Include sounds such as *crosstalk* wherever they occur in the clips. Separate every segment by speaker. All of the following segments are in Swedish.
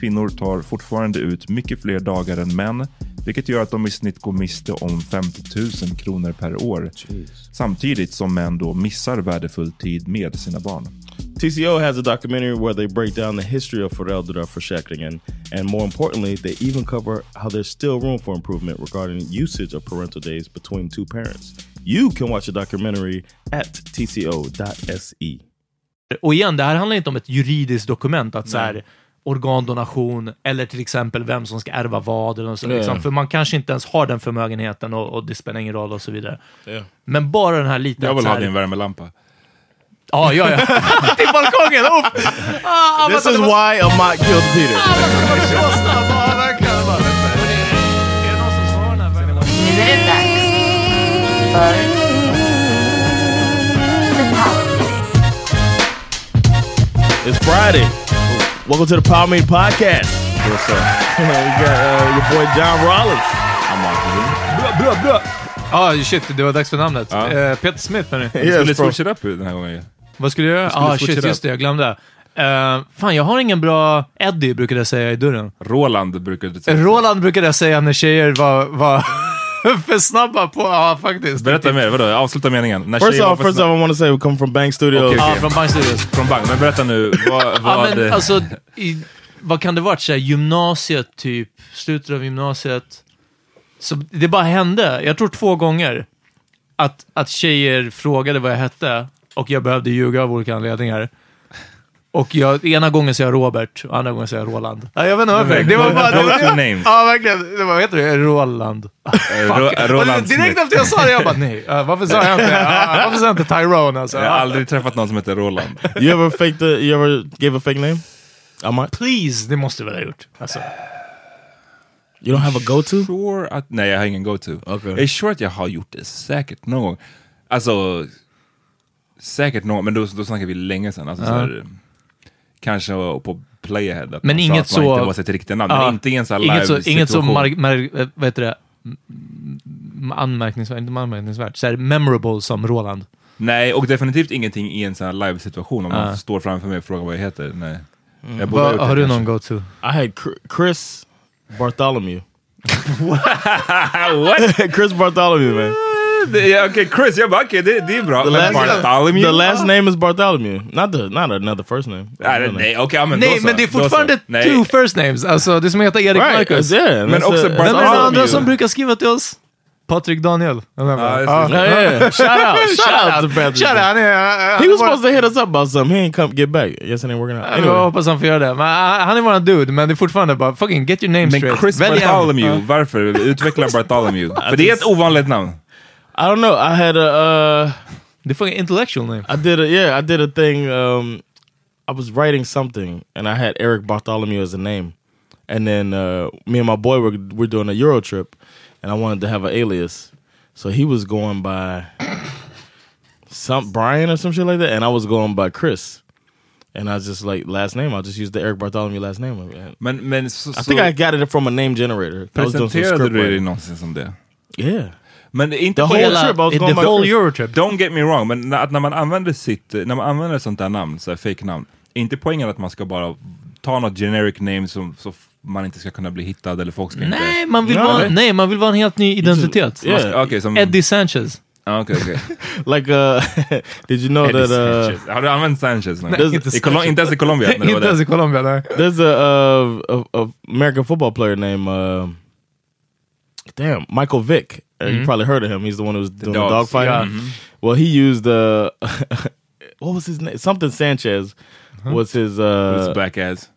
Speaker 1: Kvinnor tar fortfarande ut mycket fler dagar än män, vilket gör att de i snitt går miste om 50 000 kronor per år. Samtidigt som män då missar värdefull tid med sina barn.
Speaker 2: TCO has a documentary where they break down the history of Fereldra for Shackringen, and more importantly, they even cover how there's still room for improvement regarding usage of parental days between two parents. You can watch the documentary at tco.se.
Speaker 3: Och igen, det här handlar inte om ett juridiskt dokument, att så här, organdonation eller till exempel vem som ska ärva vad. Eller något sånt,
Speaker 2: Nej.
Speaker 3: liksom, för man kanske inte ens har den förmögenheten och, och det spelar ingen roll och så vidare. Men bara den här liten...
Speaker 1: Jag vill
Speaker 3: så
Speaker 1: ha
Speaker 3: här,
Speaker 1: din värmelampa.
Speaker 3: Ja,
Speaker 1: *laughs*
Speaker 3: ja, ja. till balkongen! Upp! Ah,
Speaker 2: This
Speaker 3: vänta,
Speaker 2: is
Speaker 3: det var-
Speaker 2: why a mock killed Peter.
Speaker 3: Är det någon som svarar den här världen?
Speaker 4: Nu är det dags för The Power Minute.
Speaker 2: It's Friday. Welcome to the Power Meeting Podcast. What's *laughs* up? we got uh, your boy John Rollins. I'm Mark Levine. Blah, blah, blah.
Speaker 3: Ja, Ah, shit, det var dags för namnet.
Speaker 1: Ja.
Speaker 3: Eh, Peter Smith, hörni.
Speaker 1: Jag skulle
Speaker 2: Yes, bro.
Speaker 1: switcha upp den här gången.
Speaker 3: Vad skulle jag göra?
Speaker 1: skulle
Speaker 3: Ah,
Speaker 1: switcha
Speaker 3: shit,
Speaker 1: det.
Speaker 3: just det. Jag glömde. Eh, fan, jag har ingen bra... Eddie brukade jag säga i dörren.
Speaker 1: Roland brukar du säga.
Speaker 3: Roland brukade jag säga när tjejer var, var *laughs* för snabba på... Ja, faktiskt.
Speaker 1: Berätta mer, vadå? Avsluta meningen. När
Speaker 2: First
Speaker 1: tjejer
Speaker 2: off,
Speaker 1: var för
Speaker 2: first off, I want to say we come from Bang Studios.
Speaker 1: Okay,
Speaker 3: Ja,
Speaker 1: okay.
Speaker 3: från Bang Studios.
Speaker 1: snabb- Från Bang, men berätta nu. Vad,
Speaker 3: *laughs* Ja,
Speaker 1: vad,
Speaker 3: men alltså, i, vad kan det varit? Så här, gymnasiet, typ. Slutet av gymnasiet. Så det bara hände. Jag tror två gånger att, att tjejer frågade vad jag hette och jag behövde ljuga av olika anledningar. Och jag, ena gången sa jag Robert och andra gången sa jag Roland. Ja, jag vet inte varför. Det var bara... Det
Speaker 1: Go to
Speaker 3: var,
Speaker 1: names.
Speaker 3: ja, verkligen. Det var, vad heter du? Roland.
Speaker 1: Eh, Ro- Roland
Speaker 3: Och direkt
Speaker 1: Smith.
Speaker 3: efter jag sa det, jag bara nej. eh, varför sa jag inte,
Speaker 1: *laughs*
Speaker 3: eh, varför sa jag inte Tyrone? Alltså?
Speaker 1: Jag har aldrig träffat någon som heter Roland. *laughs*
Speaker 2: *laughs* you ever faked the, you ever gave a fake name? I'm like,
Speaker 3: Please, det måste du väl ha gjort? Alltså.
Speaker 1: Äh,
Speaker 2: you don't have a go-to?
Speaker 1: Sure att, nej, jag har ingen go-to.
Speaker 2: Okej.
Speaker 1: Jag är sure att jag har gjort det säkert någon gång. Alltså, säkert någon men då, då snackar vi länge sedan. Alltså, så här, kanske på Playahead. att
Speaker 3: Men
Speaker 1: man
Speaker 3: inget
Speaker 1: sa att
Speaker 3: så-
Speaker 1: man inte var sitt riktiga namn,
Speaker 3: Ja.
Speaker 1: men inte i en sån här
Speaker 3: Inget så,
Speaker 1: live-situation.
Speaker 3: inget så mar, mar, eh, vad heter det? M- anmärkningsvärt, inte anmärkningsvärt, så här memorable som Roland.
Speaker 1: Nej, och definitivt ingenting i en sån här live-situation om man
Speaker 3: Ah.
Speaker 1: står framför mig och frågar vad jag heter. Nej. Jag borde
Speaker 3: Vad-
Speaker 1: gjort det
Speaker 3: har du
Speaker 1: kanske.
Speaker 3: någon go-to?
Speaker 2: I had Chr- Chris Bartholomew.
Speaker 1: Ah, What?
Speaker 2: *laughs* Chris Bartholomew, man.
Speaker 1: Det- ja, Okej, Chris, jag bara okej, det, det är bra.
Speaker 2: The
Speaker 1: Men
Speaker 2: last,
Speaker 1: Bartholomew?
Speaker 2: the last name is Bartholomew. Not the not another first name.
Speaker 1: Nej, det- nej, okej, ja, men då
Speaker 3: Nej,
Speaker 1: så.
Speaker 3: men det är
Speaker 1: Då så.
Speaker 3: fortfarande
Speaker 1: Nej.
Speaker 3: two first names. Alltså, det som heter Erik
Speaker 2: Right,
Speaker 3: Marcus.
Speaker 2: it's- yeah,
Speaker 1: Men
Speaker 2: that's
Speaker 1: också
Speaker 2: a-
Speaker 3: Vem är den
Speaker 1: Bartholomew.
Speaker 3: andra som brukar skriva till oss? Patrik Daniel.
Speaker 1: Ja,
Speaker 3: Ja,
Speaker 1: just det.
Speaker 2: *laughs* Yeah, yeah, *laughs* yeah. Shout out, shout out to Patrick.
Speaker 3: Tja, han är...
Speaker 2: He was supposed to hit us up about something. He ain't come get back. Yes, it ain't working out.
Speaker 3: Jag
Speaker 2: Anyway,
Speaker 3: hoppas han får göra det. Men, ah, han är våran dude, men det är fortfarande bara fucking get your name
Speaker 1: Men
Speaker 3: straight.
Speaker 1: Chris
Speaker 3: Ah. Välj en. Ah.
Speaker 1: Bartholomew, varför utveckla Bartholomew? För det är ett ovanligt namn.
Speaker 2: I don't know. I had a, uh,
Speaker 3: Det är fucking intellectual name.
Speaker 2: I did a, yeah, I did a thing. Um, I was writing something, and I had Eric Bartholomew as a name. And then uh, me and my boy were we're doing a Euro trip, and I wanted to have an alias, so he was going by some Brian or some shit like that, and I was going by Chris. And I was just like last name. I just used the Eric Bartholomew last name. of it.
Speaker 1: Men, men så, så
Speaker 2: I think I got it from a name generator. I was doing some
Speaker 1: presenterade
Speaker 2: script
Speaker 1: du dig
Speaker 2: writing.
Speaker 1: någonsin som det?
Speaker 2: Yeah.
Speaker 1: Men det är inte
Speaker 2: The
Speaker 1: på-
Speaker 2: whole trip, I was
Speaker 3: The
Speaker 2: going by
Speaker 3: whole
Speaker 2: Chris.
Speaker 3: Eurotrip.
Speaker 1: Don't get me wrong, men när, att när man använder sitt, när man använder sånt där namn, så här fake namn är inte poängen att man ska bara ta något generic name som så f- man inte ska kunna bli hittad eller folk ska
Speaker 3: Nej
Speaker 1: inte...
Speaker 3: man, vill
Speaker 1: Ja,
Speaker 3: vara,
Speaker 1: eller?
Speaker 3: nej, man vill vara en helt ny identitet.
Speaker 1: Man ska- Okej, som...
Speaker 3: Eddie Sanchez.
Speaker 1: Ah, okej,
Speaker 3: *laughs*
Speaker 1: okej.
Speaker 2: Like, uh, *laughs* did you know
Speaker 1: Eddie
Speaker 2: that uh,
Speaker 1: Sanchez. Har du använt Sanchez någon
Speaker 3: Nej,
Speaker 1: gång?
Speaker 3: inte
Speaker 1: I Colo- Inte ens
Speaker 3: *laughs*
Speaker 1: i Colombia? när du var
Speaker 3: Inte
Speaker 1: där?
Speaker 3: ens i Colombia,
Speaker 1: *laughs*
Speaker 3: nej.
Speaker 2: there's a, uh, a, a American football player named uh, damn Michael Vick. Uh, You probably heard of him. He's the one who was doing the dog
Speaker 1: dogs,
Speaker 2: fight.
Speaker 3: yeah.
Speaker 2: Well, he used uh, *laughs* what was his name? Something Sanchez was his.
Speaker 1: It's
Speaker 2: Uh,
Speaker 1: black ass.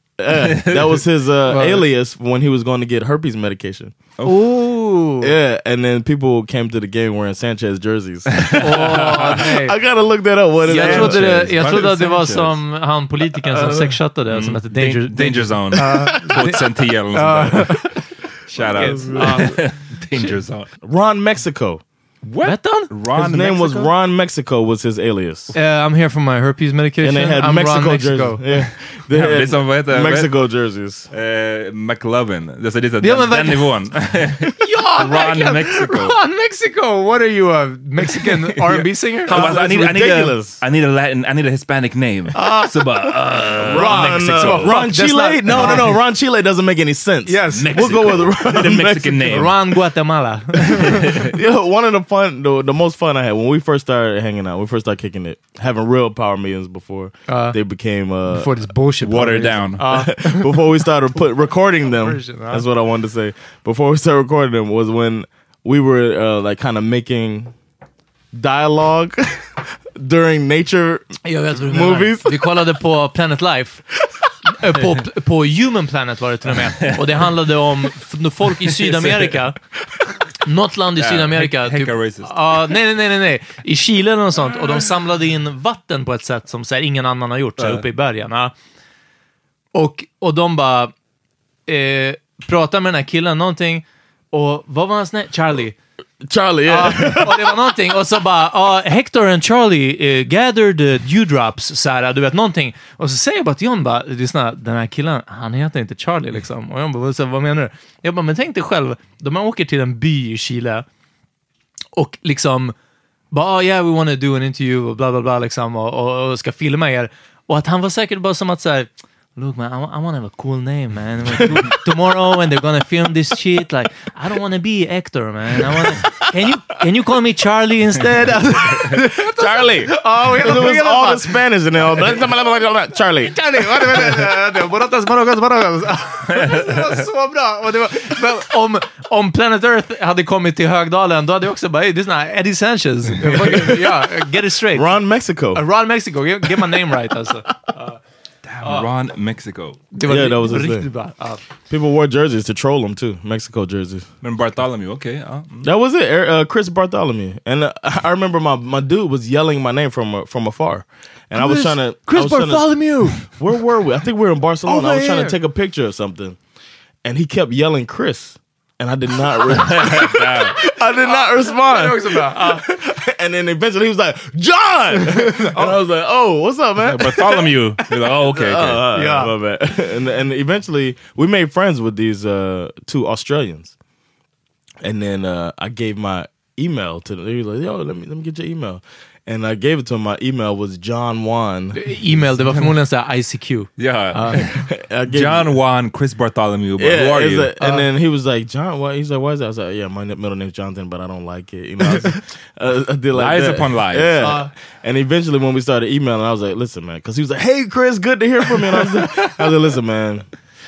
Speaker 2: that was his uh,
Speaker 3: Right.
Speaker 2: alias when he was going to get herpes medication.
Speaker 3: Ooh!
Speaker 2: Yeah, and then people came to the game wearing Sanchez jerseys.
Speaker 3: Åh, nej.
Speaker 2: I gotta look that up. What is
Speaker 3: Jag
Speaker 2: that?
Speaker 3: trodde, det,
Speaker 1: Sanchez.
Speaker 3: jag trodde att det var
Speaker 1: Sanchez.
Speaker 3: som han politikern
Speaker 1: *laughs*
Speaker 3: som sexchattade, som hette Danger... Ah.
Speaker 1: Danger, danger Zone. *laughs* 2010 eller något sånt där.
Speaker 3: *laughs*
Speaker 1: Shout out.
Speaker 3: Ja.
Speaker 1: *laughs* Danger Zone.
Speaker 2: Ron Mexico.
Speaker 3: Vad hette han?
Speaker 1: Ron
Speaker 2: His name was
Speaker 1: Mexico?
Speaker 2: Ron Mexico was his alias.
Speaker 3: Eh, I'm here for my herpes medication.
Speaker 2: And they had
Speaker 3: I'm
Speaker 2: Mexico,
Speaker 3: Ron Mexico. *laughs*
Speaker 2: jerseys. Yeah. They
Speaker 1: Det är
Speaker 2: had
Speaker 1: som, vad heter
Speaker 2: Mexico jerseys.
Speaker 1: Eh, McLovin. Det är så- det är så-
Speaker 3: Ja, men
Speaker 1: den, den
Speaker 3: verkligen.
Speaker 1: nivån.
Speaker 3: Ja, *laughs*
Speaker 1: Ron
Speaker 3: verkligen!
Speaker 1: Mexico.
Speaker 3: Ron Mexico! What are you, a Mexican
Speaker 1: *laughs*
Speaker 3: R&B singer?
Speaker 1: Han bara,
Speaker 2: That's
Speaker 1: I, need, I, need a,
Speaker 2: ridiculous. Ah.
Speaker 1: I need a Latin, I need a Hispanic
Speaker 2: *laughs*
Speaker 1: name. så bara, uh,
Speaker 2: Ron,
Speaker 1: Mexico.
Speaker 2: uh, Ron
Speaker 3: Fuck, that's
Speaker 2: Chile?
Speaker 3: not-
Speaker 2: No, no,
Speaker 3: *laughs*
Speaker 2: no. Ron Chile doesn't make any sense.
Speaker 3: Yes.
Speaker 2: We'll go with
Speaker 1: I
Speaker 2: Ron
Speaker 1: need a Mexican
Speaker 2: Mexico.
Speaker 1: name.
Speaker 3: Ron
Speaker 1: *laughs*
Speaker 3: Guatemala.
Speaker 2: Yeah, one of the fun, the, the most fun I had when we first started hanging out, we first started kicking it, having real power meetings before
Speaker 3: Uh,
Speaker 2: they became uh,
Speaker 3: Before this bullshit.
Speaker 1: Water down.
Speaker 2: *laughs* Ah. before we started put recording them.
Speaker 3: Version, huh?
Speaker 2: That's what I wanted to say. Before we started recording them was when we were uh, like kind of making dialogue *laughs* during nature.
Speaker 3: Jag vet vad du menar.
Speaker 2: Movies.
Speaker 3: Vi kollade på Planet Life. Eh, På, på Human Planet var det till och med. Och det handlade om f- folk i Sydamerika. Något land i Sydamerika. typ.
Speaker 1: Hecka racist.
Speaker 3: Ja, nej, nej, nej, nej. I Chile eller något sånt. Och de samlade in vatten på ett sätt som så här, ingen annan har gjort, så här, uppe i bergen. ja. Och, och de bara eh, pratade med den här killen någonting. Och vad var hans namn? Charlie.
Speaker 2: Charlie, yeah.
Speaker 3: Ja, *laughs* och det var någonting. Och så bara, ja, Hector and Charlie eh, gathered eh, dewdrops, så här, du vet någonting. Och så säger jag bara till John, bara, lyssna, den här killen, han heter inte Charlie liksom. Och John bara, vad- så, vad menar du? Jag bara, men tänk dig själv, de här åker till en by i Chile och liksom, bara, oh, yeah, we want to do an interview och bla bla bla liksom och, och, och ska filma er. Och att han var säkert bara som att så här, Look man, I, wa- I want to have a cool name man. *laughs* Tomorrow when they're gonna film this shit, like I don't want to be Hector man. I wanna, can, you, can you call me Charlie *laughs* instead? Alltså,
Speaker 2: *laughs* Charlie.
Speaker 3: oh, we
Speaker 2: It was all the Spanish and all. that. *laughs* Charlie.
Speaker 3: Morotas, morotas, morotas. Det var så bra! Och det var, men om, om Planet Earth hade kommit till Högdalen, då hade jag också bara, hey, this is not Eddie Sanchez. *laughs* Ja, get it straight.
Speaker 2: Ron Mexico.
Speaker 3: Uh, Ron Mexico, get, get my name right alltså.
Speaker 1: Ron Mexico.
Speaker 3: Det var
Speaker 2: Yeah, that was his
Speaker 3: riktigt
Speaker 2: name.
Speaker 3: bra. Ja.
Speaker 2: People wore jerseys to troll them too. Mexico jerseys.
Speaker 1: Men Bartholomew, okej. ja. Mm.
Speaker 2: *laughs* That was it. Er- Uh, Chris Bartholomew. And uh, I remember my, my dude was yelling my name from uh, from afar. And I was trying to I was trying to- *laughs* Where were we? I think we were in Barcelona.
Speaker 3: Over
Speaker 2: I was trying
Speaker 3: here.
Speaker 2: to take a picture of something, and he kept yelling Chris, and I did *laughs* not. Re- *laughs* I did not respond.
Speaker 3: också bra. Ja.
Speaker 2: And then eventually he was like *laughs* John, and I was like, Oh, what's up, man?
Speaker 1: Bartholomew. You're like, oh, okay, okay.
Speaker 2: Uh,
Speaker 3: Yeah.
Speaker 2: my bad. *laughs* and and eventually we made friends with these uh, two Australians, and then uh, I gave my email to them. They were like, yo, let me, let me get your email. And I gave it to him. My email was John Wan.
Speaker 3: E-mail, det var förmodligen så här ICQ.
Speaker 2: uh,
Speaker 1: Yeah.
Speaker 2: *laughs* I gave-
Speaker 1: John Juan, Chris Bartholomew, but who are
Speaker 2: it's
Speaker 1: you? Uh.
Speaker 2: like- and then he was like, John, why? He's like, why is that? I was like, yeah, my n- middle name's Jonathan, but I don't like it. You know, I, was, *laughs* uh, I did like
Speaker 1: Lies
Speaker 2: that.
Speaker 1: upon lies.
Speaker 2: Yeah.
Speaker 3: Uh.
Speaker 2: and eventually, when we started emailing, I was like, listen, man, because he was like, hey, Chris, good to hear from you. And I was like, I was like listen, man,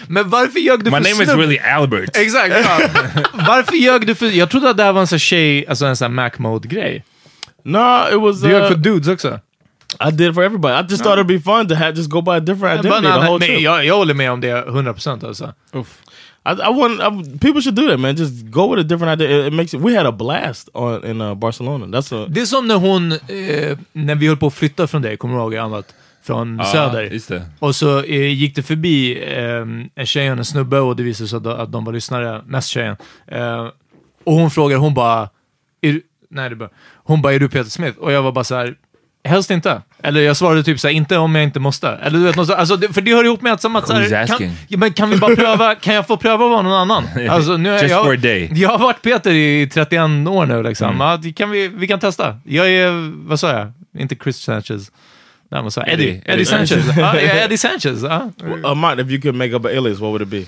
Speaker 3: Men varför ljög du
Speaker 1: Uh, My
Speaker 3: för
Speaker 1: name is
Speaker 3: Snoop?
Speaker 1: really Albert.
Speaker 3: Exakt! Ja. varför ljög du för... Jag trodde att det här var en sån här tjej, alltså en sån här Mac-mode-grej.
Speaker 2: no, it was.
Speaker 3: Du ljög för
Speaker 2: Uh,
Speaker 3: dudes också.
Speaker 2: I did for everybody. I just thought it'd be fun to have just go by a different identity the
Speaker 3: Banana,
Speaker 2: whole
Speaker 3: nej,
Speaker 2: trip.
Speaker 3: jag, jag håller med om det 100% alltså.
Speaker 2: I, I want I, people should do that, man. Just go with a different idea. It, it makes it. We had a blast on in uh, Barcelona. That's a.
Speaker 3: Alltså, Det är som när hon, eh, när vi höll på att flytta från dig, kommer du ihåg annat? Från Söder.
Speaker 1: just det.
Speaker 3: Och så eh, gick det förbi eh, en tjej och en snubbe och det visade sig att, att de var lyssnare, mest tjejen. Eh, och hon frågade, hon bara, är, du- nej det bara, hon bara, är du Peter Smith? Och jag var bara så här. Helst inte. Eller jag svarade typ såhär, inte om jag inte måste. Eller du vet, något så, alltså, det, för det hör ihop med att, som att så
Speaker 1: Who's
Speaker 3: här,
Speaker 1: asking?
Speaker 3: kan, ja, men kan vi bara pröva, kan jag få pröva att vara någon
Speaker 1: *laughs*
Speaker 3: annan? Alltså, nu, är
Speaker 1: Just
Speaker 3: jag,
Speaker 1: for a day. Mm.
Speaker 3: Jag har varit Peter i 31 år nu liksom. Ja, det kan vi, vi kan testa. Jag är, vad sa jag? Inte Chris Sanchez. Nej, vad sa jag? Eddie.
Speaker 1: Eddie.
Speaker 3: Eddie,
Speaker 1: Eddie
Speaker 3: Sanchez. ja, jag är Eddie Sanchez. Ja.
Speaker 2: Uh, Mike, if you could make up an alias, what would it be?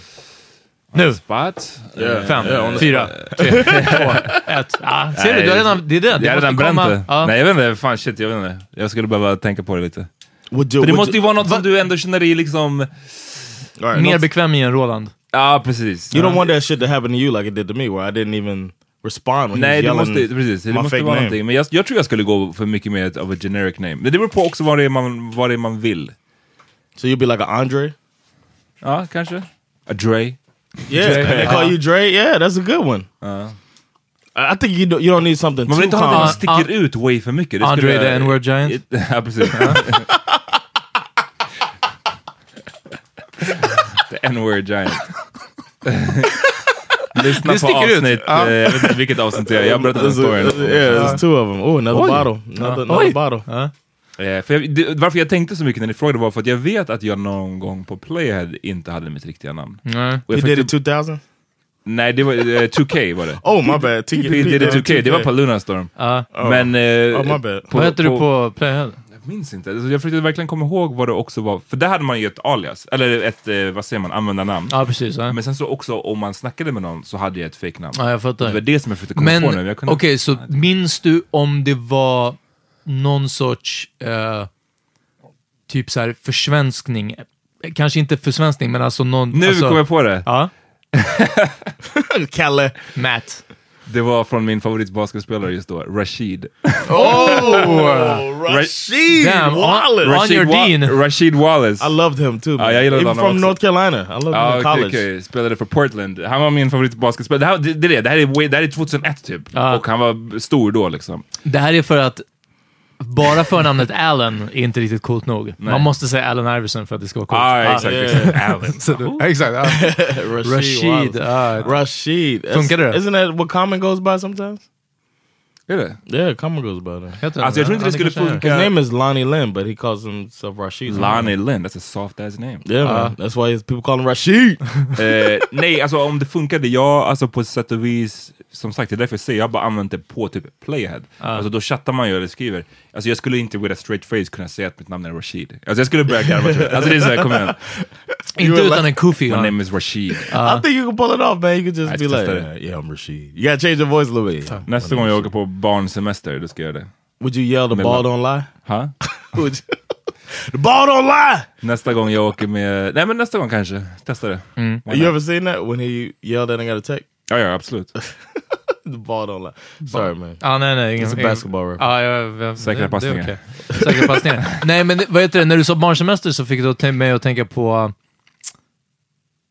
Speaker 3: Nu.
Speaker 1: Spot?
Speaker 3: Fem, fyra, tre, två, ett. Ja, ser du? Du har redan... Det är det.
Speaker 1: Jag har
Speaker 3: måste
Speaker 1: redan bränt
Speaker 3: komma-
Speaker 1: det.
Speaker 3: Ja.
Speaker 1: Nej, jag vet inte. Fan, shit, jag vet inte. Jag skulle behöva tänka på det lite.
Speaker 2: Would you,
Speaker 1: För det
Speaker 2: would
Speaker 1: måste ju
Speaker 2: you,
Speaker 1: vara något som du ändå känner dig liksom...
Speaker 2: all right,
Speaker 3: Mer
Speaker 2: not-
Speaker 3: bekväm i en Roland.
Speaker 1: Ja, precis.
Speaker 2: You don't want that shit to happen to you like it did to me, where I didn't even respond when
Speaker 1: Nej,
Speaker 2: he
Speaker 1: det
Speaker 2: was yelling
Speaker 1: måste, precis, det
Speaker 2: my
Speaker 1: måste
Speaker 2: fake
Speaker 1: vara
Speaker 2: name.
Speaker 1: någonting. Men jag, jag tror jag skulle gå för mycket mer av a generic name. Men det beror på också vad det är man, vad det är man vill.
Speaker 2: So you'd be like an Andre.
Speaker 1: Ja, kanske. A Dre.
Speaker 2: Yeah,
Speaker 3: Dre.
Speaker 2: they call you Dre. Yeah, that's a good one. I I think you don't, you don't need something
Speaker 1: Man vill inte
Speaker 2: too
Speaker 1: ha
Speaker 2: common.
Speaker 1: något som sticker ut way för mycket. Det
Speaker 3: Andre
Speaker 1: skulle-
Speaker 3: the N-word giant.
Speaker 1: It- *laughs* Ja, precis. Ja. the N-word
Speaker 3: *laughs*
Speaker 1: giant. Lyssna
Speaker 3: Det
Speaker 1: på
Speaker 3: sticker ut.
Speaker 1: avsnitt, eh, jag vet inte vilket avsnitt det är, jag har berättat den
Speaker 2: There's a-
Speaker 1: storyn.
Speaker 2: yeah, there's two of them. Oh, another bottle. Another, another
Speaker 3: Oj.
Speaker 2: bottle.
Speaker 3: Ja.
Speaker 1: Eh, för jag, det, varför jag tänkte så mycket när ni frågade var för att jag vet att jag någon gång på Playhead inte hade mitt riktiga namn.
Speaker 3: Nej.
Speaker 1: Och jag
Speaker 2: He did
Speaker 1: försökte-
Speaker 2: it 2000?
Speaker 1: Nej, det var eh, 2K
Speaker 2: *laughs*
Speaker 1: var det.
Speaker 2: Oh, my bad. T-
Speaker 1: He did it 2K, det var på Lunarstorm.
Speaker 3: Ja.
Speaker 1: Men... eh,
Speaker 2: Oh, my bad.
Speaker 3: Vad heter du på Playhead?
Speaker 1: Jag minns inte. Alltså, jag försökte verkligen komma ihåg vad det också var. För där hade man ju ett alias, eller ett, eh, vad säger man, användarnamn.
Speaker 3: Ja, precis. Ja.
Speaker 1: Men sen så också om man snackade med någon så hade jag ett fejknamn.
Speaker 3: Ja, jag fattar.
Speaker 1: Det var det som jag försökte komma
Speaker 3: Men
Speaker 1: på nu.
Speaker 3: okej,
Speaker 1: Jag kunde-
Speaker 3: så minns du om det var någon sorts eh, typ så här försvenskning? Eh, Kanske inte försvenskning, men alltså någon...
Speaker 1: Nu
Speaker 3: alltså,
Speaker 1: kom jag på det!
Speaker 3: Ja,
Speaker 2: Kalle.
Speaker 3: Matt.
Speaker 1: Det var från min favoritbasketspelare just då, Rashid.
Speaker 2: Oh, Rasheed
Speaker 3: Damn,
Speaker 2: Wallace.
Speaker 3: on- on
Speaker 1: Rashid
Speaker 3: your
Speaker 1: Wa-
Speaker 3: dean.
Speaker 1: Rashid Wallace.
Speaker 2: I loved him too. man.
Speaker 1: jag gillade
Speaker 2: Even
Speaker 1: honom
Speaker 2: from
Speaker 1: också.
Speaker 2: North Carolina. I loved him
Speaker 1: Ja,
Speaker 2: in
Speaker 1: okej,
Speaker 2: college.
Speaker 1: okej. Spelade för Portland. Han var min favoritbasketspelare. Det, här, det, det, är det. det, här är, way- det här är 2001 typ.
Speaker 2: Ah.
Speaker 3: Ja.
Speaker 1: Och han var stor då liksom.
Speaker 3: Det här är för att bara förnamnet Allen är inte riktigt coolt nog. Man måste säga Allen Iverson för att det ska vara coolt.
Speaker 1: Ah,
Speaker 3: *laughs*
Speaker 1: exakt,
Speaker 2: yeah.
Speaker 1: exakt.
Speaker 2: *laughs*
Speaker 1: Allen.
Speaker 3: Exakt.
Speaker 1: *laughs*
Speaker 3: Ja.
Speaker 2: Rasheed.
Speaker 3: Rashid.
Speaker 2: Wallace.
Speaker 3: ah.
Speaker 2: Rashid. That's-
Speaker 3: Funkar det?
Speaker 2: Isn't that what Common goes by sometimes?
Speaker 1: Är det?
Speaker 2: Yeah, Common goes by that.
Speaker 3: Heter
Speaker 1: Alltså, jag tror inte det
Speaker 3: Ja,
Speaker 1: skulle
Speaker 3: kanske är.
Speaker 1: funka.
Speaker 2: His name is Lonnie Lynn, but he calls himself Rashid.
Speaker 1: Lonnie Uh. Lynn, that's a soft ass name.
Speaker 2: Yeah, man. That's why his people call him Rashid.
Speaker 1: Eh, nej, alltså om det funkade, jag, alltså på ett sätt och vis, som sagt, det är därför jag säger, jag har bara använt det på typ playhead.
Speaker 2: Ah.
Speaker 1: Alltså då chattar man ju eller skriver. Alltså jag skulle inte with a straight face kunna säga att mitt namn är Rashid. Alltså jag skulle börja garva tror jag. Alltså det är såhär, kom
Speaker 2: *laughs*
Speaker 1: igen.
Speaker 3: Inte utan en kufi.
Speaker 1: My
Speaker 3: va?
Speaker 1: name is Rashid.
Speaker 2: I think you can pull it off, man. You could just
Speaker 1: Nice
Speaker 2: be like,
Speaker 1: tester.
Speaker 2: yeah, I'm Rashid. You gotta change your voice a little bit. Yeah.
Speaker 1: Nästa gång jag åker på barnsemester, då ska jag göra det.
Speaker 2: Would you yell the
Speaker 1: Mid-
Speaker 2: ball
Speaker 1: *laughs*
Speaker 2: don't lie?
Speaker 1: Ha?
Speaker 2: Would you- *laughs* the ball don't lie!
Speaker 1: Nästa gång jag åker med, nej men nästa gång kanske, testa det.
Speaker 3: Mm.
Speaker 1: Why
Speaker 2: You
Speaker 1: not?
Speaker 2: ever seen that when he yelled at and got a tech?
Speaker 1: Ja, ja absolut.
Speaker 2: The ball don't lie. Sorry, man.
Speaker 3: Ja, Ah, nej, nej. Ingen,
Speaker 2: It's a
Speaker 3: ingen- Ah,
Speaker 2: basketball
Speaker 3: Ja,
Speaker 2: reference.
Speaker 3: ja, ja,
Speaker 1: Säkra
Speaker 3: det-
Speaker 1: passningar.
Speaker 3: Det är okej. Säkra passningar.
Speaker 1: *laughs*
Speaker 3: nej, men det- vad heter det? När du sa barnsemester så fick du te- mig att tänka på... uh,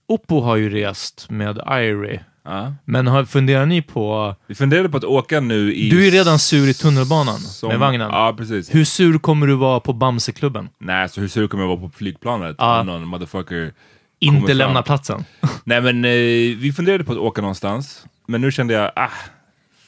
Speaker 3: Oppo har ju rest med Irie.
Speaker 1: Ja.
Speaker 3: Men har, funderar ni på... uh,
Speaker 1: Vi funderade på att åka nu i...
Speaker 3: Du är redan sur i tunnelbanan
Speaker 1: som-
Speaker 3: med vagnen.
Speaker 1: Ja, precis.
Speaker 3: Hur sur kommer du vara på Bamseklubben?
Speaker 1: Nej, så hur sur kommer jag vara på flygplanet
Speaker 3: Ja.
Speaker 1: om någon motherfucker kommer
Speaker 3: Inte
Speaker 1: fram?
Speaker 3: lämna
Speaker 1: *laughs*
Speaker 3: platsen.
Speaker 1: Nej men eh, vi funderade på att åka någonstans, men nu kände jag, ah,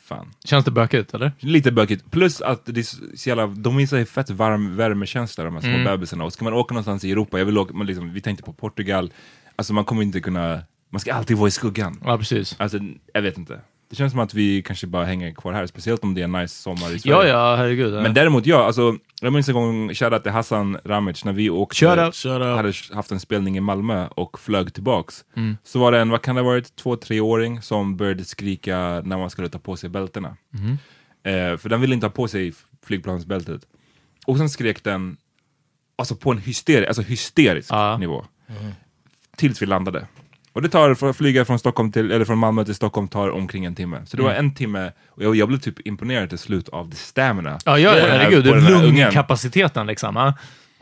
Speaker 1: fan.
Speaker 3: Känns det bökigt, eller?
Speaker 1: Lite bökigt. Plus att det är så- så jävla, de visar ju fett varm värmekänsla de här
Speaker 3: Mm.
Speaker 1: små bebisarna. Och ska man åka någonstans i Europa, jag vill åka, men liksom, vi tänkte på Portugal, alltså man kommer inte kunna, man ska alltid vara i skuggan.
Speaker 3: Ja, precis.
Speaker 1: Alltså, jag vet inte. Det känns som att vi kanske bara hänger kvar här, speciellt om det är en nice sommar i Sverige.
Speaker 3: Ja, ja, herregud.
Speaker 1: Men däremot, ja, alltså, jag minns en gång, shoutout till Hassan Ramic, när vi åkte,
Speaker 3: Shout out.
Speaker 2: Shout out.
Speaker 1: hade haft en spelning i Malmö och flög tillbaks.
Speaker 3: Mm.
Speaker 1: Så var det en, vad kan det ha varit, två, treåring som började skrika när man skulle ta på sig bältena.
Speaker 3: Mm.
Speaker 1: Eh, för den ville inte ha på sig flygplansbältet. Och sen skrek den, alltså på en hysteri- alltså hysterisk
Speaker 3: Ja.
Speaker 1: nivå. Tills vi landade. Och det tar, för att flyga från, Stockholm till, eller från Malmö till Stockholm tar omkring en timme. Så det
Speaker 3: Mm.
Speaker 1: var en timme, och jag, jag blev typ imponerad till slut av the stamina.
Speaker 3: Ja, ja,
Speaker 1: på den här-
Speaker 3: herregud.
Speaker 1: på den här ungen.
Speaker 3: Lungkapaciteten liksom. Ja.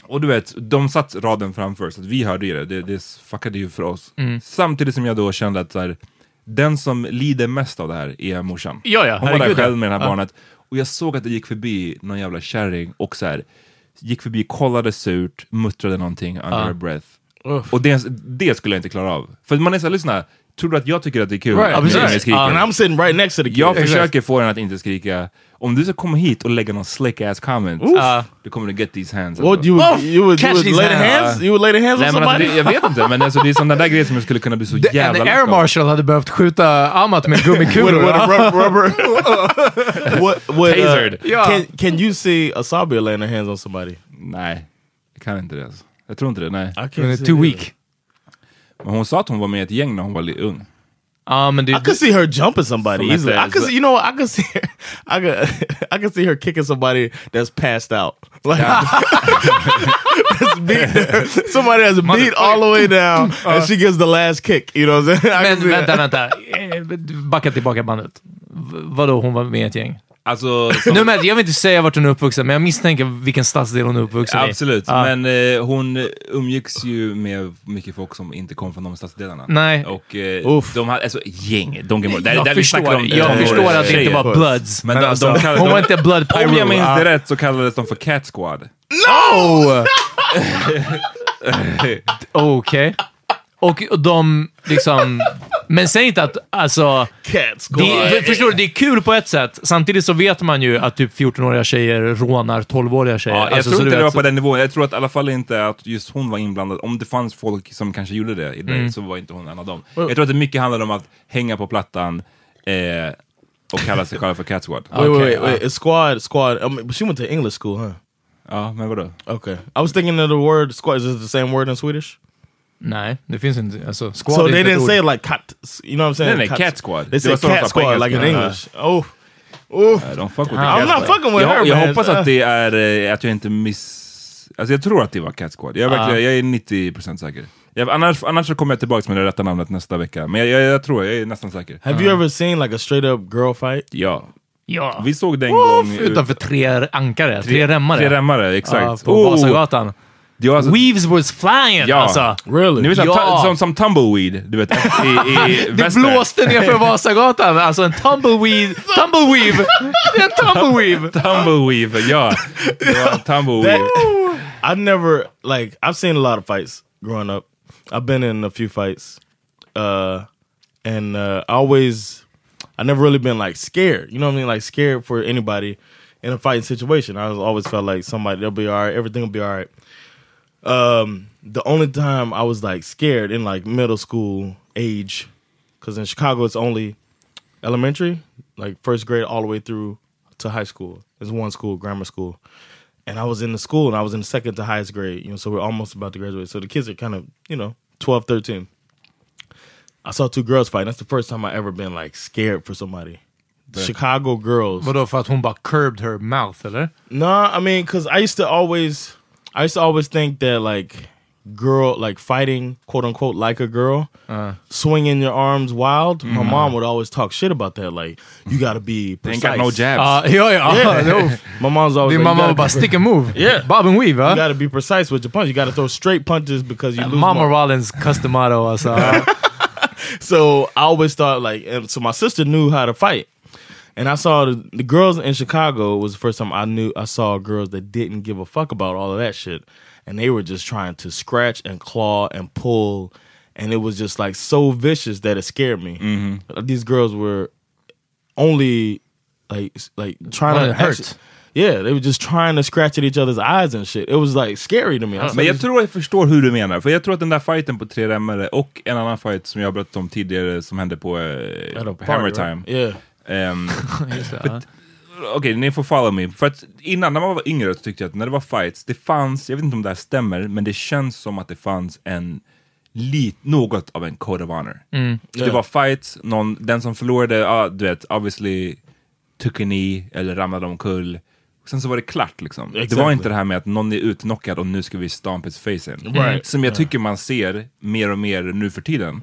Speaker 1: Och du vet, de satt raden framför, så att vi hörde ju det. det. Det fuckade ju för oss.
Speaker 3: Mm.
Speaker 1: Samtidigt som jag då kände att så här, den som lider mest av det här är morsan.
Speaker 3: Ja, ja,
Speaker 1: Hon var där
Speaker 3: herregud,
Speaker 1: själv med det här
Speaker 3: ja.
Speaker 1: barnet. Och jag såg att det gick förbi någon jävla kärring och så här, gick förbi, kollade surt, muttrade någonting under her breath.
Speaker 3: Uff.
Speaker 1: Och det, det skulle jag inte klara av. För man är såhär, lyssna, tror du att jag tycker att det är kul att
Speaker 3: precis.
Speaker 1: ni skriker?
Speaker 2: and I'm sitting right next to the kid.
Speaker 1: Jag försöker få den att inte skrika. Om du ska komma hit och lägga någon slick ass comment,
Speaker 3: Ja.
Speaker 1: du kommer att get these hands.
Speaker 2: What you would,
Speaker 3: Oh,
Speaker 2: you would, you
Speaker 3: catch
Speaker 2: would
Speaker 3: these
Speaker 2: lay the
Speaker 3: hands.
Speaker 2: hands? You would lay the hands on
Speaker 1: Nej, men alltså,
Speaker 2: somebody?
Speaker 1: det, jag vet inte, men alltså, det är sådana där grejer som jag skulle
Speaker 3: *laughs*
Speaker 1: kunna bli så
Speaker 3: En
Speaker 1: jävla
Speaker 3: air
Speaker 1: lack av.
Speaker 3: marshal hade behövt skjuta Amat med gummikulor.
Speaker 2: With a
Speaker 3: va? *laughs*
Speaker 2: rub- rubber. what, what, uh,
Speaker 1: Tasered.
Speaker 3: Yeah.
Speaker 2: Can, can you see Asabia laying her hands on somebody?
Speaker 1: Nej, jag kan inte det. Alltså. Jag tror inte det, nej.
Speaker 2: I
Speaker 3: Men det är
Speaker 2: see
Speaker 3: Too
Speaker 2: it.
Speaker 3: weak.
Speaker 1: Men hon sa att hon var med i ett gäng när hon var li- ung.
Speaker 3: Ja, men det,
Speaker 2: I could see her jumping somebody
Speaker 1: Some
Speaker 2: easily. I
Speaker 1: ass
Speaker 2: could,
Speaker 1: ass.
Speaker 2: see, you know, what? I could see, her, I could, *laughs* I could see her kicking somebody that's passed out, *laughs* like that's
Speaker 3: *laughs*
Speaker 2: beat there. somebody that's beat all the way *laughs* down, and she gives the last kick. You know, what I'm saying? *laughs* I
Speaker 3: men
Speaker 2: could see
Speaker 3: vänta,
Speaker 2: Uh. that.
Speaker 3: vänta. Eh, Backa tillbaka bandet. V- Vadå, hon var med i ett gäng?
Speaker 1: Alltså,
Speaker 3: Nu, men, jag vill inte säga vart hon är uppvuxen, men jag misstänker vilken stadsdel hon är uppvuxen i.
Speaker 1: absolut.
Speaker 3: Ja.
Speaker 1: Men eh, hon umgicks ju med mycket folk som inte kom från de stadsdelarna.
Speaker 3: Nej.
Speaker 1: Och eh,
Speaker 2: Uff.
Speaker 1: de hade, alltså gäng, de gamla, där,
Speaker 3: jag
Speaker 1: där vi
Speaker 3: förstår,
Speaker 1: snackar om
Speaker 3: jag
Speaker 1: tonårs-
Speaker 3: förstår att det inte
Speaker 1: tjejer.
Speaker 3: var Bloods.
Speaker 1: Men de- de
Speaker 3: alltså,
Speaker 1: kallar-
Speaker 3: hon
Speaker 1: de-
Speaker 3: var inte Blood Pyro.
Speaker 1: Om jag minns
Speaker 3: Ja.
Speaker 1: det rätt så kallades de för Cat Squad.
Speaker 3: Oh! Okej. Och de liksom... Men säg inte att... Alltså,
Speaker 2: Cat squad.
Speaker 3: det, för- förstår du? Det är kul på ett sätt. Samtidigt så vet man ju att typ 14-åriga tjejer rånar 12-åriga tjejer.
Speaker 1: Ja, jag
Speaker 3: Alltså, så
Speaker 1: tror
Speaker 3: du
Speaker 1: inte det
Speaker 3: vet,
Speaker 1: var
Speaker 3: så-
Speaker 1: på den nivån. Jag tror att i alla fall inte att just hon var inblandad. Om det fanns folk som kanske gjorde det, i det
Speaker 3: Mm.
Speaker 1: så var inte hon en av dem. Jag tror att det mycket handlade om att hänga på plattan eh, och kalla sig själv för Cat Squad.
Speaker 2: Wait, wait,
Speaker 3: Okay,
Speaker 2: wait,
Speaker 3: uh.
Speaker 2: wait. It's squad, squad. I mean, but she went to English school, huh?
Speaker 1: Ja, men vadå?
Speaker 2: Okay, I was thinking of the word squad. Is this the same word in Swedish?
Speaker 3: Nej, det finns inte. Alltså, squad
Speaker 2: so
Speaker 3: är
Speaker 2: Oh, they
Speaker 3: inte ett
Speaker 2: didn't
Speaker 3: ord.
Speaker 2: say like cat. You know what I'm saying?
Speaker 1: No, no, cat squad.
Speaker 2: They
Speaker 1: They were
Speaker 2: said
Speaker 1: sort of
Speaker 2: cat
Speaker 1: like uh-huh. English
Speaker 2: squad like in
Speaker 1: squad.
Speaker 2: English. Oh, oh.
Speaker 1: I don't fuck with the
Speaker 2: I'm
Speaker 3: Ah,
Speaker 1: Cat
Speaker 2: not
Speaker 1: Squad.
Speaker 2: fucking with
Speaker 1: jag,
Speaker 2: her,
Speaker 1: jag
Speaker 2: man.
Speaker 1: hoppas att det är, eh, att jag inte miss... Alltså jag tror att det var Cat Squad. Jag är,
Speaker 3: Ah.
Speaker 1: verkligen, jag är 90% säker. Jag, annars, annars så kommer jag tillbaka med det rätta namnet nästa vecka. Men jag, jag, jag tror, jag är nästan säker.
Speaker 2: Have you ever seen like a straight up girl fight?
Speaker 1: Ja.
Speaker 3: Ja.
Speaker 1: Vi såg den gång...
Speaker 3: Woof, utanför tre ankare. Tre, remmare.
Speaker 1: Tre remmare, exakt.
Speaker 3: Ja, på
Speaker 1: Oh!
Speaker 3: Vasagatan.
Speaker 1: Det var alltså-
Speaker 3: Weaves was flying
Speaker 1: Ja.
Speaker 3: alltså.
Speaker 2: Really?
Speaker 1: Ni vet,
Speaker 3: Ja.
Speaker 1: ja. som, som tumbleweed, du vet, i, i
Speaker 3: *laughs* Det
Speaker 1: väster.
Speaker 3: blåste ner
Speaker 1: *laughs*
Speaker 3: för Vasagatan. Alltså en tumbleweed. Tumbleweave! Det är en tumbleweave!
Speaker 1: Tumbleweed, ja. Det var en tumbleweed.
Speaker 2: I never like I've seen a lot of fights growing up. I've been in a few fights, uh, and uh, I always I never really been like scared. You know what I mean? Like scared for anybody in a fighting situation. I was always felt like somebody they'll be all right. Everything will be all right. Um, the only time I was like scared in like middle school age, because in Chicago it's only elementary, like first grade all the way through to high school. There's one school, grammar school. And I was in the school and I was in the second to highest grade, you know, so we're almost about to graduate. So the kids are kind of, you know, 12, 13. I saw two girls fighting. That's the first time I ever been like scared for somebody. Chicago girls.
Speaker 3: Vadå, för att hon bara curbed her mouth, eller?
Speaker 2: No, I mean, cause I used to always, I used to always think that like girl, like fighting, quote unquote, like a girl,
Speaker 1: Uh-huh.
Speaker 2: swinging your arms wild. My mom would always talk shit about that. Like you got to be
Speaker 1: Mm-hmm. Ain't
Speaker 2: precise.
Speaker 1: got no jabs.
Speaker 3: Ja, ja, *laughs* ja.
Speaker 2: Yeah. My mom's always.
Speaker 3: Din
Speaker 2: Like,
Speaker 3: mamma
Speaker 2: you
Speaker 3: var bara
Speaker 2: gotta,
Speaker 3: stick and move.
Speaker 2: Yeah.
Speaker 3: Bob and weave,
Speaker 2: you
Speaker 3: va?
Speaker 2: gotta be precise with your punch. You gotta throw straight punches because you lose.
Speaker 3: Mama
Speaker 2: more.
Speaker 3: Rollins custom motto alltså.
Speaker 2: So I always thought like, and so my sister knew how to fight, and I saw the, the girls in Chicago was the first time I knew I saw girls that didn't give a fuck about all of that shit, and they were just trying to scratch and claw and pull, and it was just like so vicious that it scared me.
Speaker 3: Mm-hmm.
Speaker 2: These girls were only like s- like trying
Speaker 3: Wanted
Speaker 2: to
Speaker 3: to hurt.
Speaker 2: actually- Yeah, they were just trying to scratch at each other's eyes and shit. It was like scary to me. I
Speaker 3: Uh,
Speaker 2: was
Speaker 1: Men
Speaker 2: like,
Speaker 1: jag tror jag förstår hur du menar, för jag tror att den där fighten på tre remmare och en annan fight som jag berättade om tidigare som hände på eh,
Speaker 2: at a party,
Speaker 1: Hammer
Speaker 2: right?
Speaker 1: Time.
Speaker 2: Yeah.
Speaker 1: Ehm,
Speaker 3: *laughs* Just det, ja.
Speaker 1: Okej, ni får follow me. För att innan, när man var yngre, så tyckte jag att när det var fights, det fanns, jag vet inte om det här stämmer, men det känns som att det fanns en lit, något av en code of honor.
Speaker 3: Mm.
Speaker 1: Det
Speaker 2: Ja.
Speaker 1: var fights, någon, den som förlorade, ja, du vet, obviously took a knee eller ramlade omkull. Sen så var det klart liksom. Det var
Speaker 2: Exactly.
Speaker 1: inte det här med att någon är utknockad och nu ska vi stomp his face in.
Speaker 3: Mm.
Speaker 2: Right.
Speaker 1: Som jag tycker man ser mer och mer nu för tiden.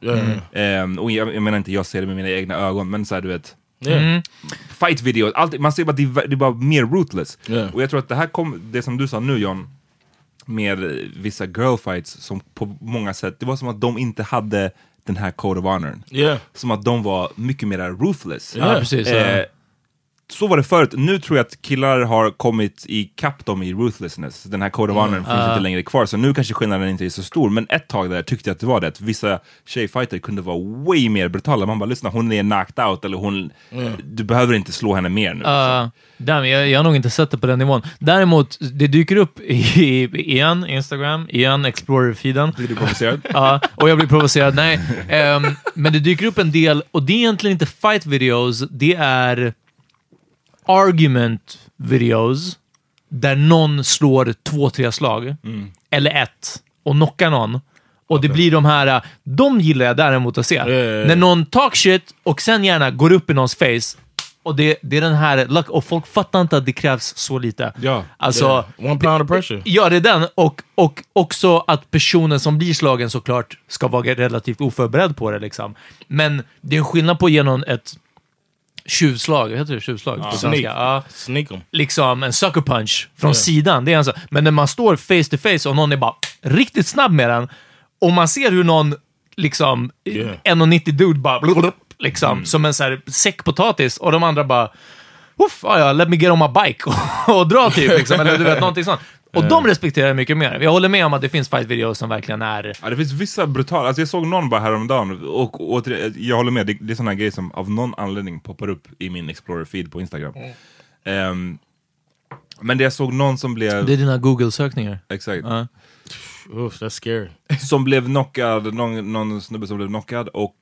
Speaker 1: Ehm, och jag, jag menar inte jag ser det med mina egna ögon, men så här, du vet
Speaker 2: Yeah.
Speaker 1: fight videos, allt, man ser bara att det, är- det är bara mer rootless.
Speaker 2: Yeah.
Speaker 1: Och jag tror att det här kom, det som du sa nu John, med eh, vissa girl fights som på många sätt, det var som att de inte hade den här code of honor.
Speaker 2: Yeah.
Speaker 1: Som att de var mycket mer ruthless.
Speaker 3: Ja, precis. ja.
Speaker 1: Eh, så var det förut, nu tror jag att killar har kommit ikapp dem i ruthlessness. Den här code of honor
Speaker 3: Mm,
Speaker 1: finns inte längre kvar, så nu kanske skillnaden inte är så stor. Men ett tag där tyckte jag att det var det, att vissa tjejfighter kunde vara way mer brutala. Man bara, lyssna, hon är knocked out, eller hon... Du behöver inte slå henne mer nu.
Speaker 3: Mm. Ja, Uh, damn, jag, jag har nog inte sett det på den nivån. Däremot, det dyker upp i, igen Instagram, igen Explorer-feeden.
Speaker 1: Blir du provocerad?
Speaker 3: Ja, och jag blir provocerad. Nej, ehm, men det dyker upp en del, och det är egentligen inte fight videos, det är argument videos där någon slår två, tre slag, eller ett, och knockar någon. Och det blir de här, äh, de gillar jag däremot att se. När någon talk shit och sen gärna går upp i någons face. Och det, det är den här, luck- och folk fattar inte att det krävs så lite.
Speaker 1: Ja.
Speaker 3: Alltså,
Speaker 2: One pound of pressure.
Speaker 3: Ja, det är den. Och, och också att personen som blir slagen såklart ska vara relativt oförberedd på det. Liksom. Men det är en skillnad på att ge någon ett tjuvslag. Heter det tjuvslag på
Speaker 2: Uh-huh. Sneak.
Speaker 3: svenska? Ja.
Speaker 2: Sneak 'em.
Speaker 3: Liksom en sucker punch från sidan. Det är en så. Men när man står face to face och någon är bara riktigt snabb med den och man ser hur någon liksom
Speaker 2: Yeah.
Speaker 3: 1,90 dude bara blubblub, liksom som en så här säck potatis och de andra bara Uff, ja, ja, let me get on my bike *laughs* och, och dra typ. Liksom, eller du vet, någonting sånt. Och de respekterar jag mycket mer. Jag håller med om att det finns fight-videos som verkligen är...
Speaker 1: Ja, det finns vissa brutala, alltså jag såg någon bara häromdagen, och återigen, jag håller med, det, det är sådana grejer som av någon anledning poppar upp i min Explorer-feed på Instagram. Ehm, men det jag såg någon som blev...
Speaker 3: Det är dina Google-sökningar.
Speaker 1: Exakt.
Speaker 3: Ja.
Speaker 2: Oof, that's scary.
Speaker 1: *laughs* som blev knockad, någon, någon snubbe som blev knockad och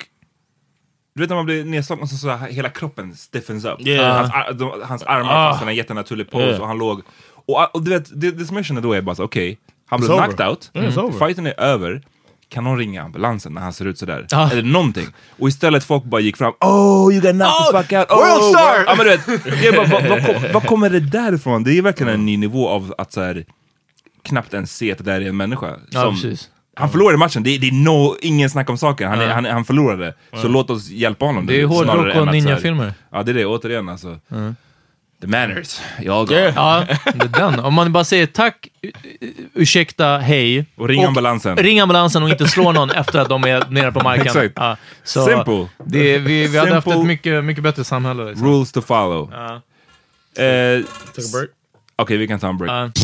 Speaker 1: du vet när man blir nedslagen och så, så här, hela kroppen stiffens up.
Speaker 2: Yeah. Ah.
Speaker 1: Hans, ar- de, hans armar fastnade i en jättenaturlig pose
Speaker 2: Yeah.
Speaker 1: och han låg... Och, a- och du vet, det, det som jag känner då är bara så, okej, han blev
Speaker 2: It's over.
Speaker 1: knocked out, Mm.
Speaker 2: Yeah, it's over.
Speaker 1: fighten är över, kan någon ringa ambulansen när han ser ut sådär?
Speaker 3: Ah.
Speaker 1: Eller någonting. Och istället folk bara gick fram, oh you got knocked the
Speaker 3: Oh,
Speaker 1: fuck out, oh,
Speaker 3: world star!
Speaker 1: Ja men du vet, det är bara, vad, vad, kom, vad kommer det där ifrån? Det är verkligen en ny nivå av att så här, knappt ens se att det där är en människa.
Speaker 3: Ja,
Speaker 1: som-
Speaker 3: precis.
Speaker 1: han förlorade matchen, det, det är no, ingen snack om saken. Han, är- han, han förlorade. Så låt oss hjälpa honom.
Speaker 3: Det är hårdrock
Speaker 1: snarare än
Speaker 3: och
Speaker 1: att så här-
Speaker 3: ninjafilmer.
Speaker 1: Ja, det är det. Återigen alltså. The manners. Jag går.
Speaker 3: Ja, det är den. Om man bara säger tack, u- u- ursäkta, hej.
Speaker 1: Och ring ambulansen.
Speaker 3: Ring ambulansen och inte slå någon efter att de är nere på marken.
Speaker 1: Exakt.
Speaker 3: Ja, så
Speaker 1: Simple.
Speaker 3: Det, vi vi hade haft
Speaker 1: Simple.
Speaker 3: ett mycket, mycket bättre samhälle. Liksom.
Speaker 1: Rules to follow.
Speaker 3: Ja.
Speaker 1: Eh, s-
Speaker 2: Take a break.
Speaker 1: Okej, vi kan ta en break.
Speaker 3: Ja.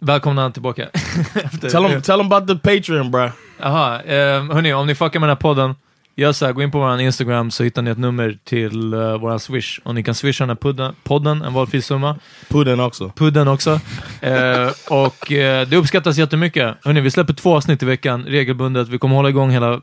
Speaker 3: välkomna tillbaka. *laughs* Efter-
Speaker 2: Tell them, tell them about the Patreon, bro.
Speaker 3: Jaha, eh, hörni, om ni fuckar med den här podden, gör så här, gå in på vår Instagram så hittar ni ett nummer till uh, vår Swish. Och ni kan swisha den här podden, podden en valfri summa.
Speaker 2: Pudden också.
Speaker 3: Pudden också. Eh, och eh, det uppskattas jättemycket. Hörni, vi släpper två avsnitt i veckan regelbundet. Vi kommer hålla igång hela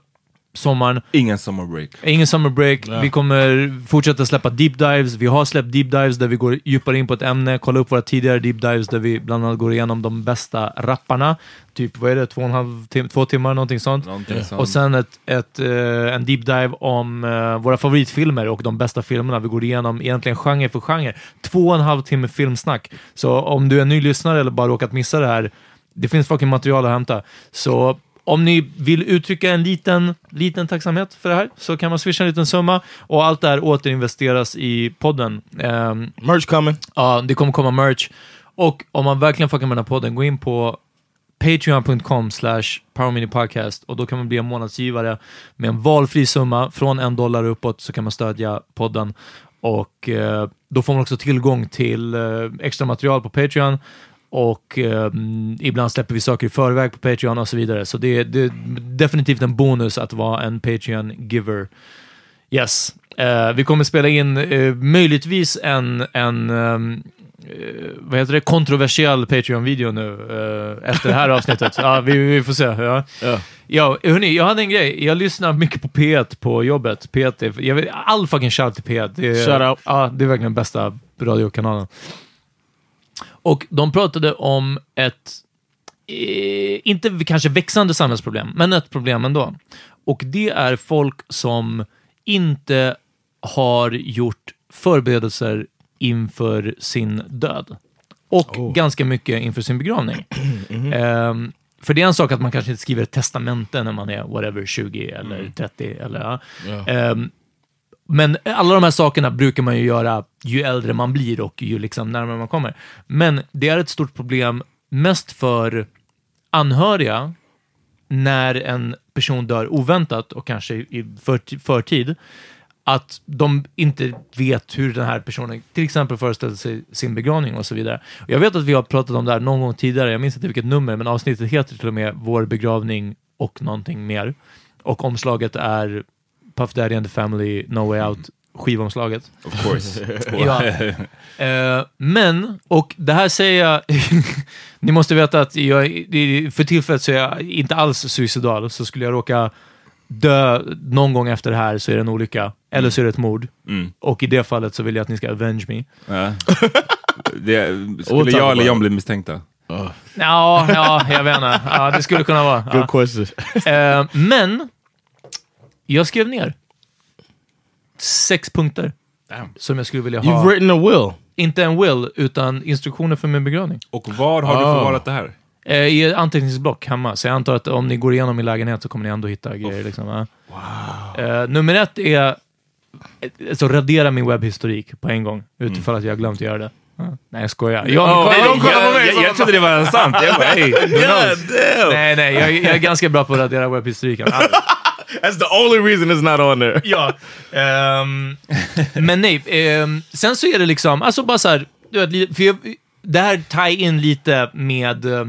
Speaker 3: sommaren.
Speaker 1: Ingen summer break.
Speaker 3: Ingen summer break.
Speaker 1: Ja.
Speaker 3: Vi kommer fortsätta släppa deep dives. Vi har släppt deep dives där vi går djupare in på ett ämne. Kolla upp våra tidigare deep dives där vi bland annat går igenom de bästa rapparna. Typ, vad är det? Två, och en halv tim- två timmar, någonting sånt.
Speaker 1: Någonting
Speaker 3: Ja.
Speaker 1: sånt.
Speaker 3: Och
Speaker 2: Mm.
Speaker 3: sen ett, ett, eh, en deep dive om eh, våra favoritfilmer och de bästa filmerna. Vi går igenom egentligen genre för genre. Två och en halv timme filmsnack. Så om du är ny lyssnare eller bara råkat missa det här, det finns fucking material att hämta. Så om ni vill uttrycka en liten, liten tacksamhet för det här så kan man swisha en liten summa och allt det här återinvesteras i podden. Ehm,
Speaker 2: merch coming.
Speaker 3: Ja, det kommer komma merch. Och om man verkligen fuckar med den här podden, gå in på patreon.com slash powerminipodcast och då kan man bli en månadsgivare med en valfri summa från en dollar uppåt så kan man stödja podden och eh, då får man också tillgång till eh, extra material på Patreon och eh, mm, ibland släpper vi saker i förväg på Patreon och så vidare. Så det är, det är definitivt en bonus att vara en Patreon-giver. Yes. Eh, vi kommer spela in eh, möjligtvis en, en ehm, eh, vad heter det, kontroversiell Patreon-video nu eh, efter det här
Speaker 2: *laughs*
Speaker 3: avsnittet. ja, vi, vi får se. Ja.
Speaker 2: Ja.
Speaker 3: Ja, hörni, jag hade en grej. Jag lyssnar mycket på P1 på jobbet. P1 är, jag vet, all fucking shout till P1. Det är,
Speaker 2: Shout out.
Speaker 3: Ja, det är verkligen den bästa radiokanalen. Och de pratade om ett, eh, inte kanske växande samhällsproblem, men ett problem ändå. Och det är folk som inte har gjort förberedelser inför sin död. Och ganska mycket inför sin begravning. Ehm, för det är en sak att man kanske inte skriver ett testamente när man är whatever, 20 eller 30. Eller, ja.
Speaker 2: Ja.
Speaker 3: Ehm, men alla de här sakerna brukar man ju göra ju äldre man blir och ju liksom närmare man kommer. Men det är ett stort problem mest för anhöriga när en person dör oväntat och kanske i för, förtid, att de inte vet hur den här personen till exempel föreställer sig sin begravning och så vidare. Och jag vet att vi har pratat om det här någon gång tidigare, jag minns inte vilket nummer, men avsnittet heter till och med Vår begravning och någonting mer. Och omslaget är Puff Daddy and the Family, No Way Out, skivomslaget.
Speaker 1: Of course.
Speaker 3: *laughs* ja. Eh, men, och det här säger jag, *laughs* ni måste veta att jag, det- för tillfället så är jag inte alls suicidal, så skulle jag råka dö någon gång efter det här så är det en olycka, eller så är det ett mord.
Speaker 1: Mm.
Speaker 3: Och i det fallet så vill jag att ni ska avenge me.
Speaker 1: Ja. Det, skulle jag eller John bli misstänkta?
Speaker 3: Ja, ja, jag vet inte. Ja, det skulle kunna vara. Ja.
Speaker 2: Good question.
Speaker 3: Eh, men, jag skrev ner sex punkter som jag skulle vilja ha.
Speaker 2: You've written a will.
Speaker 3: Inte en will, utan instruktioner för min begravning.
Speaker 1: Och var har du
Speaker 2: Ah.
Speaker 1: förvarat det här?
Speaker 3: Eh, I ett anteckningsblock hemma, så jag antar att om ni går igenom i lägenhet så kommer ni ändå hitta grejer. Liksom, va? Eh, nummer ett är eh, alltså, radera min webbhistorik på en gång, utifall att jag har glömt att göra det. Ja. Nej, jag skojar. Jag,
Speaker 1: Oh,
Speaker 3: nej,
Speaker 1: jag, jag, jag trodde det var sant. Jag bara, hey,
Speaker 2: *laughs*
Speaker 1: who knows?
Speaker 3: nej, nej, jag, jag är ganska bra på att radera webbhistoriken.
Speaker 2: That's the only reason it's not on there.
Speaker 3: *laughs* ja. ehm, men nej, ehm, sen så är det liksom, alltså bara så här, du vet, li- för jag, det här tar in lite med, eh,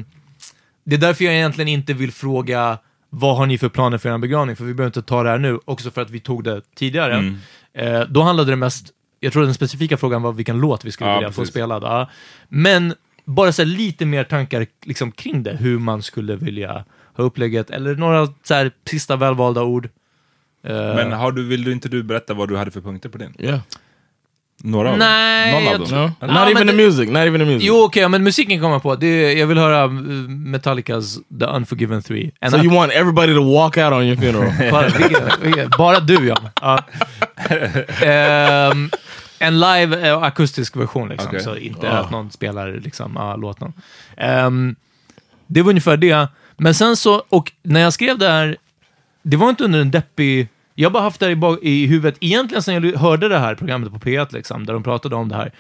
Speaker 3: det är därför jag egentligen inte vill fråga vad har ni för planer för er begravning? För vi behöver inte ta det här nu, också för att vi tog det tidigare.
Speaker 1: Mm.
Speaker 3: Eh, då handlade det mest, jag tror den specifika frågan var vilken låt vi skulle
Speaker 1: Ja,
Speaker 3: vilja få
Speaker 1: precis.
Speaker 3: spelad. Ja. Men bara så här, lite mer tankar liksom, kring det, hur man skulle vilja ha upplägget, eller några så här, sista välvalda ord. Eh,
Speaker 1: Men har du, vill du inte du berätta vad du hade för punkter på din?
Speaker 2: Yeah.
Speaker 1: Några av
Speaker 3: Nej,
Speaker 1: dem? Någon
Speaker 3: jag
Speaker 1: av
Speaker 2: No?
Speaker 1: dem?
Speaker 3: Ah,
Speaker 2: not even
Speaker 3: men
Speaker 2: the
Speaker 3: det-
Speaker 2: music. Not even the music.
Speaker 3: Jo, okej, men musiken kommer jag på. Det, jag vill höra eh, Metallicas The Unforgiven 3. And
Speaker 2: so
Speaker 3: I-
Speaker 2: you want everybody to walk out on your funeral?
Speaker 3: bara, vilket- vilket- bara du, John.
Speaker 2: *laughs*
Speaker 3: ja. Ehm, en live eh, akustisk version, liksom,
Speaker 1: Okej.
Speaker 3: så inte att någon spelar liksom, ah, låten. Ehm, det var ungefär det. Men sen så, och när jag skrev det här, det var inte under en deppig... Jag har bara haft det här i, bak- i huvudet egentligen sen jag hörde det här programmet på P1, liksom, där de pratade om det här.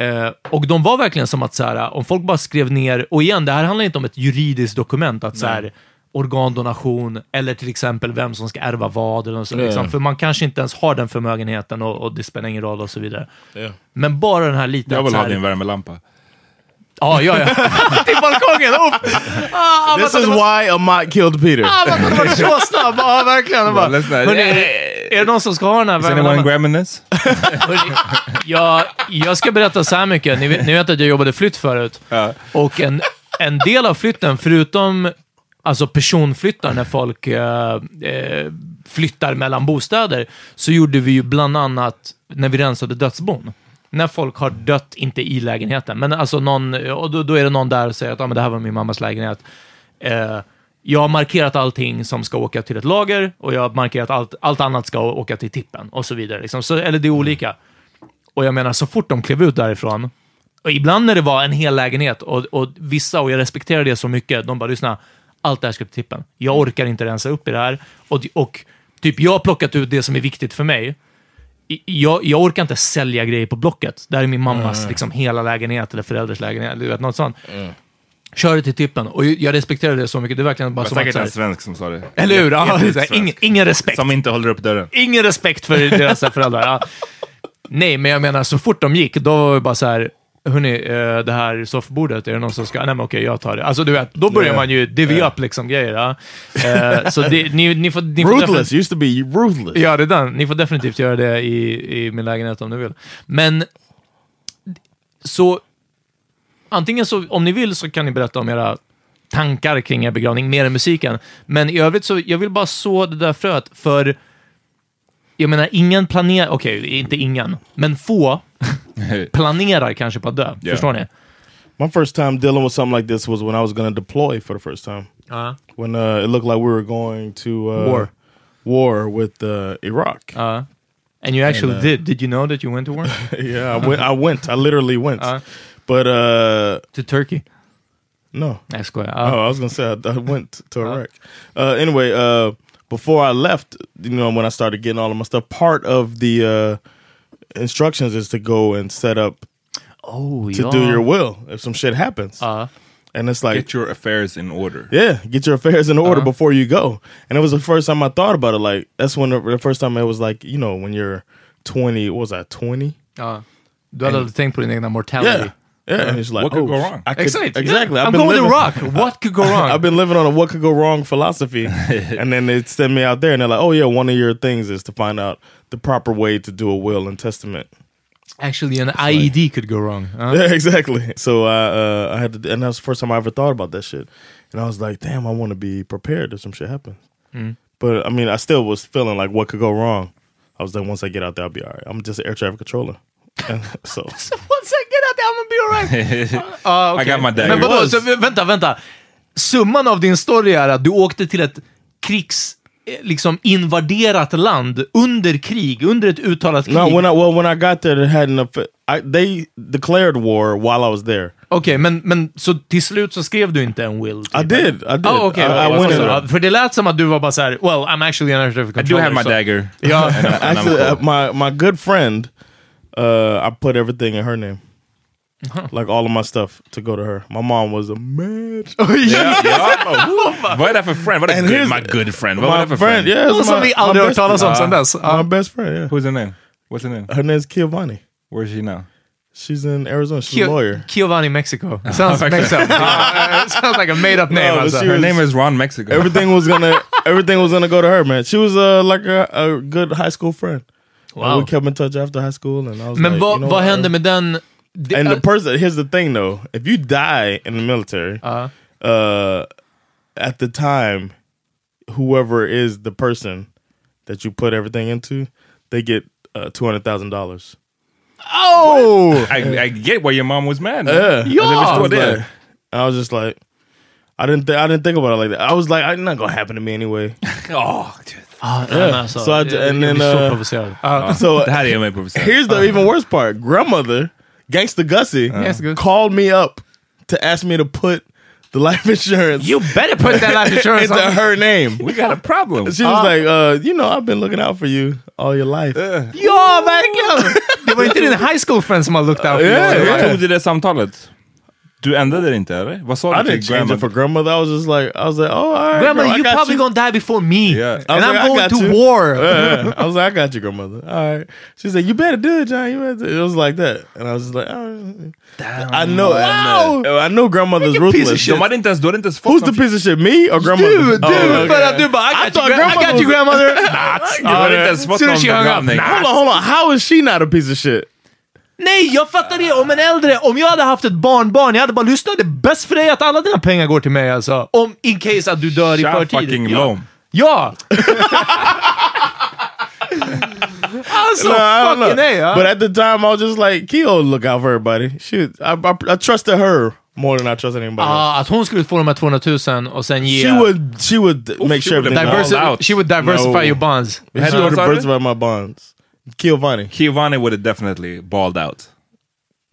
Speaker 3: Eh, och de var verkligen som att så här, om folk bara skrev ner, och igen, det här handlar inte om ett juridiskt dokument, att så här, organdonation eller till exempel vem som ska ärva vad, eller något sånt,
Speaker 5: Ja.
Speaker 3: liksom, för man kanske inte ens har den förmögenheten och, och det spelar ingen roll och så vidare. Men bara den här liten...
Speaker 1: Jag vill
Speaker 3: så
Speaker 1: ha
Speaker 3: här-
Speaker 1: din värmelampa.
Speaker 3: Ja,
Speaker 1: *laughs*
Speaker 3: ja, ja. Till balkongen, upp! Ah,
Speaker 2: This
Speaker 3: vänta,
Speaker 2: is
Speaker 3: det var-
Speaker 2: why Amat killed Peter.
Speaker 3: Ah, man hade varit så snabb! Ja, verkligen. Jag Bara,
Speaker 2: Ja, lyssna.
Speaker 3: hörni, är det någon som ska ha den här
Speaker 1: Is anyone
Speaker 3: *laughs* värmen?
Speaker 1: grabbing this?
Speaker 3: Jag, jag ska berätta så här mycket. Ni vet, ni vet att jag jobbade flytt förut. Och en, en del av flytten, förutom alltså personflyttar, när folk eh, eh, flyttar mellan bostäder, så gjorde vi ju bland annat när vi rensade dödsbon. När folk har dött, inte i lägenheten, men alltså någon, och då, då är det någon där och säger att ah, men det här var min mammas lägenhet. Eh, jag har markerat allting som ska åka till ett lager och jag har markerat allt, allt annat ska åka till tippen och så vidare. Liksom. Så, eller det är olika. Och jag menar, så fort de klev ut därifrån, och ibland när det var en hel lägenhet och, och vissa, och jag respekterar det så mycket, de bara lyssna, allt det här ska till tippen. Jag orkar inte rensa upp i det här. Och, och typ jag har plockat ut det som är viktigt för mig. I- Jag, jag orkar inte sälja grejer på Blocket. Det här är min mammas
Speaker 5: Mm.
Speaker 3: liksom, hela lägenhet eller föräldrars lägenhet, eller du vet, något sånt.
Speaker 1: Mm.
Speaker 3: Kör det till tippen. Och jag respekterar det så mycket. Det är verkligen
Speaker 1: Det
Speaker 3: bara
Speaker 1: var
Speaker 3: som att...
Speaker 1: säkert
Speaker 3: så
Speaker 1: en
Speaker 3: här-
Speaker 1: svensk som sa det.
Speaker 3: Eller hur? Ja,
Speaker 1: Jättesvensk.
Speaker 3: så här, ingen- ingen respekt.
Speaker 1: Som inte håller upp dörren.
Speaker 3: Ingen respekt för deras föräldrar. Ja. Nej, men jag menar så fort de gick, då var det bara så här, hörni, eh, det här soffbordet, är det någon som ska... Nej, men okej, jag tar det. Alltså, du vet, då börjar
Speaker 2: Ja,
Speaker 3: man ju divvy
Speaker 2: ja.
Speaker 3: upp liksom grejer. Ja. Eh, så det, ni, ni får... Ni får
Speaker 2: Ruthless,
Speaker 3: definitivt-
Speaker 2: used to be ruthless.
Speaker 3: Ja, det är den. Ni får definitivt göra det i, i min lägenhet om ni vill. Men, så, antingen så, om ni vill så kan ni berätta om era tankar kring er begravning, mer än musiken. Men i övrigt så, jag vill bara så det där fröet, för jag menar, ingen planerar, okej, inte ingen, men
Speaker 2: *laughs*
Speaker 3: få planerar kanske på att dö. Förstår ni?
Speaker 2: My first time dealing with something like this was when I was going to deploy for the first time.
Speaker 3: Uh-huh.
Speaker 2: When uh, it looked like we were going to uh,
Speaker 3: War.
Speaker 2: war with uh, Iraq.
Speaker 3: Uh, and you actually did. Did you know that you went to war?
Speaker 2: *laughs* yeah, I went. I went. I literally went.
Speaker 3: Uh-huh.
Speaker 2: but uh,
Speaker 3: to Turkey.
Speaker 2: No,
Speaker 3: that's good.
Speaker 2: oh, I was gonna say I, I went to Iraq. Uh, anyway, uh, before I left, you know, when I started getting all of my stuff, part of the uh, instructions is to go and set up.
Speaker 3: Oh,
Speaker 2: to
Speaker 1: yeah.
Speaker 2: do your will if some shit happens.
Speaker 3: Uh,
Speaker 2: and it's like
Speaker 1: Get your affairs in order.
Speaker 2: yeah, get your affairs in order before you go. And it was the first time I thought about it. Like that's when the, the first time it was like you know when you're 20. What was I 20?
Speaker 3: Ja. Du hade
Speaker 2: And-
Speaker 3: aldrig tänkt på din egna mortality.
Speaker 2: Yeah. Yeah, and it's like,
Speaker 3: What could
Speaker 2: oh,
Speaker 3: go
Speaker 2: sh-
Speaker 3: wrong?
Speaker 2: I could-
Speaker 3: Exakt, yeah.
Speaker 2: Exactly.
Speaker 3: I'm
Speaker 2: I've been
Speaker 3: going to
Speaker 2: living,
Speaker 3: rock. What could go wrong?
Speaker 2: *laughs* I've been living on a what could go wrong *laughs* philosophy, and then they send me out there, and they're like, oh yeah, one of your things is to find out the proper way to do a will and testament.
Speaker 3: Actually, an IED could go wrong. Ja. *laughs*
Speaker 2: Yeah, *laughs* exactly. So I, uh, I had to, and that's the first time I ever thought about that shit. And I was like, damn, I want to be prepared if some shit happens.
Speaker 3: Mm.
Speaker 2: But I mean, I still was feeling like what could go wrong. I was like, once I get out there, I'll be all right. I'm just an air traffic controller. *laughs* And so *laughs*
Speaker 3: Once I get out there, I'm gonna be alright. Ah, okej.
Speaker 2: I got my dagger.
Speaker 3: Men vadå,
Speaker 2: Was.
Speaker 3: så, vä- vänta, vänta. Summan av din story är att du åkte till ett krigs... eh, Liksom invaderat land under krig, under ett uttalat krig.
Speaker 2: no, when I
Speaker 3: Okej,
Speaker 2: well, when I got there, it had enough. I, they declared war while I was there.
Speaker 3: men, men så till slut så skrev du inte en will?
Speaker 2: I did. I did.
Speaker 3: Ah, okej,
Speaker 2: I,
Speaker 3: okej,
Speaker 2: I
Speaker 3: jag
Speaker 2: went in
Speaker 3: förstår.
Speaker 2: there.
Speaker 3: Ja, Ah, För det lät som att du var bara såhär, well, I'm actually an air traffic
Speaker 2: I do
Speaker 3: controller.
Speaker 2: have my
Speaker 3: so- *laughs*
Speaker 2: *laughs* dagger.
Speaker 3: Ja.
Speaker 2: Actually, uh,
Speaker 1: *laughs*
Speaker 2: my my good friend, uh, I put everything in her name. Like all of my stuff to go to her. My mom was a mad.
Speaker 3: Uh,
Speaker 1: Ja, ja.
Speaker 2: *laughs*
Speaker 1: Vad är det för friend? Vad är det good, my good friend? Vad var det för friend?
Speaker 2: Yeah, it's my- my best-
Speaker 1: Ja.
Speaker 2: My best friend. Yeah.
Speaker 1: Who's her name? What's her name?
Speaker 2: Her name's Giovanni.
Speaker 1: Where is she now?
Speaker 2: She's in Arizona. She's a
Speaker 3: Kio-
Speaker 2: lawyer.
Speaker 3: Giovanni Mexico. It sounds, makes sense.
Speaker 5: *laughs*
Speaker 3: Yeah, it sounds like a made up name.
Speaker 2: No, but
Speaker 3: alltså.
Speaker 2: she was-
Speaker 1: Ron Mexico.
Speaker 2: Everything
Speaker 3: *laughs*
Speaker 2: was gonna everything was gonna go to her, man. She was uh, like a, a good high school friend.
Speaker 3: Wow.
Speaker 2: we kept in touch after high school, and I was
Speaker 3: Oh. Men
Speaker 2: like,
Speaker 3: vad,
Speaker 2: you know
Speaker 3: vad
Speaker 2: what,
Speaker 3: hände med den... det-
Speaker 2: and the
Speaker 3: att-
Speaker 2: person here's the thing though if you die in the military uh at the time whoever is the person that you put everything into they get uh, $200000
Speaker 3: oh
Speaker 2: *laughs*
Speaker 1: I, I get why your mom was mad. man.
Speaker 2: yeah
Speaker 1: Alltså, jag
Speaker 2: I,
Speaker 1: förstår
Speaker 2: was
Speaker 1: det.
Speaker 2: like, I was just like i didn't think i didn't think about it like that i was like i not gonna happen to me *laughs* anyway
Speaker 1: oh
Speaker 3: Ah, nej, men
Speaker 2: yeah.
Speaker 3: alltså,
Speaker 2: so I,
Speaker 3: jag- jag
Speaker 2: and
Speaker 3: blir
Speaker 2: then
Speaker 3: så
Speaker 2: uh,
Speaker 3: provocerad.
Speaker 1: Oh.
Speaker 3: Ja.
Speaker 2: so
Speaker 1: Det här är mig provocerad.
Speaker 2: Here's the even worst part. Grandmother, Uh-huh. Gangsta Gussie,
Speaker 3: Gangsta
Speaker 2: called me up to ask me to put the life *laughs* insurance. You
Speaker 5: better put that life insurance
Speaker 2: into
Speaker 5: on-
Speaker 2: her *laughs* name.
Speaker 5: We got a problem.
Speaker 2: She was
Speaker 5: Ah.
Speaker 2: like, uh, you know, I've been looking out for you all your life.
Speaker 5: Ja, verkligen! Det var inte din
Speaker 2: *laughs*
Speaker 5: high school friend som har looked out for you.
Speaker 1: Hur tog du det samtalet? Du ändrade det inte eller? Vad sa
Speaker 2: I
Speaker 1: du
Speaker 2: didn't
Speaker 1: till
Speaker 2: change
Speaker 1: grandma?
Speaker 2: it for grandmother. I was just like, I was like, oh, all right,
Speaker 3: Grandma,
Speaker 2: girl, I
Speaker 3: you
Speaker 2: got
Speaker 3: probably
Speaker 2: you.
Speaker 3: gonna die before me.
Speaker 2: I
Speaker 3: And
Speaker 2: was
Speaker 3: I'm
Speaker 2: like, I
Speaker 3: going
Speaker 2: got
Speaker 3: to
Speaker 2: you.
Speaker 3: war.
Speaker 2: *laughs* Yeah, yeah. I was like, I got you, grandmother. All right. She said, you better do it, John. You better do it. It was like that. And I was just like, oh. I know.
Speaker 1: Wow.
Speaker 2: I know, I know grandmother's ruthless.
Speaker 1: De hade inte ens, du hade inte ens fått
Speaker 2: Who's the piece of shit? Me or grandmother? Oh,
Speaker 1: Du, du,
Speaker 5: för att
Speaker 2: *laughs*
Speaker 5: du bara, I got you, gra- I got you, grandmother.
Speaker 2: Nah,
Speaker 5: Du hade inte ens fått Soon as she någon hung up, begrabbning. nah.
Speaker 2: Hold on, hold on. How is she not a piece of shit?
Speaker 3: Nej, jag fattar det. Om en äldre, om jag hade haft ett barnbarn, jag hade bara lyssnat. Det är bäst för dig att alla dina pengar går till mig alltså. Om, in case att du dör i
Speaker 1: Tja,
Speaker 3: förtid.
Speaker 1: fucking
Speaker 3: ja.
Speaker 1: lom.
Speaker 2: *laughs*
Speaker 3: Ja! alltså,
Speaker 2: No, Uh, I don't
Speaker 3: fucking
Speaker 2: know.
Speaker 3: nej. Ja.
Speaker 2: But at the time, I was just like, Keo, look out for everybody. Shoot, I, I, I trusted her more than I trusted anybody. else.
Speaker 3: Ah, att hon skulle få de här 200 000 och sen ge...
Speaker 2: She would, she would make
Speaker 3: she
Speaker 2: sure
Speaker 3: would
Speaker 2: everything
Speaker 3: have
Speaker 2: was
Speaker 3: diversi-
Speaker 2: out.
Speaker 3: she would diversify your bonds.
Speaker 2: She
Speaker 3: Hade
Speaker 2: would
Speaker 3: hon sagt
Speaker 2: diversify my bonds. Giovanni.
Speaker 1: Giovanni would have definitely balled out.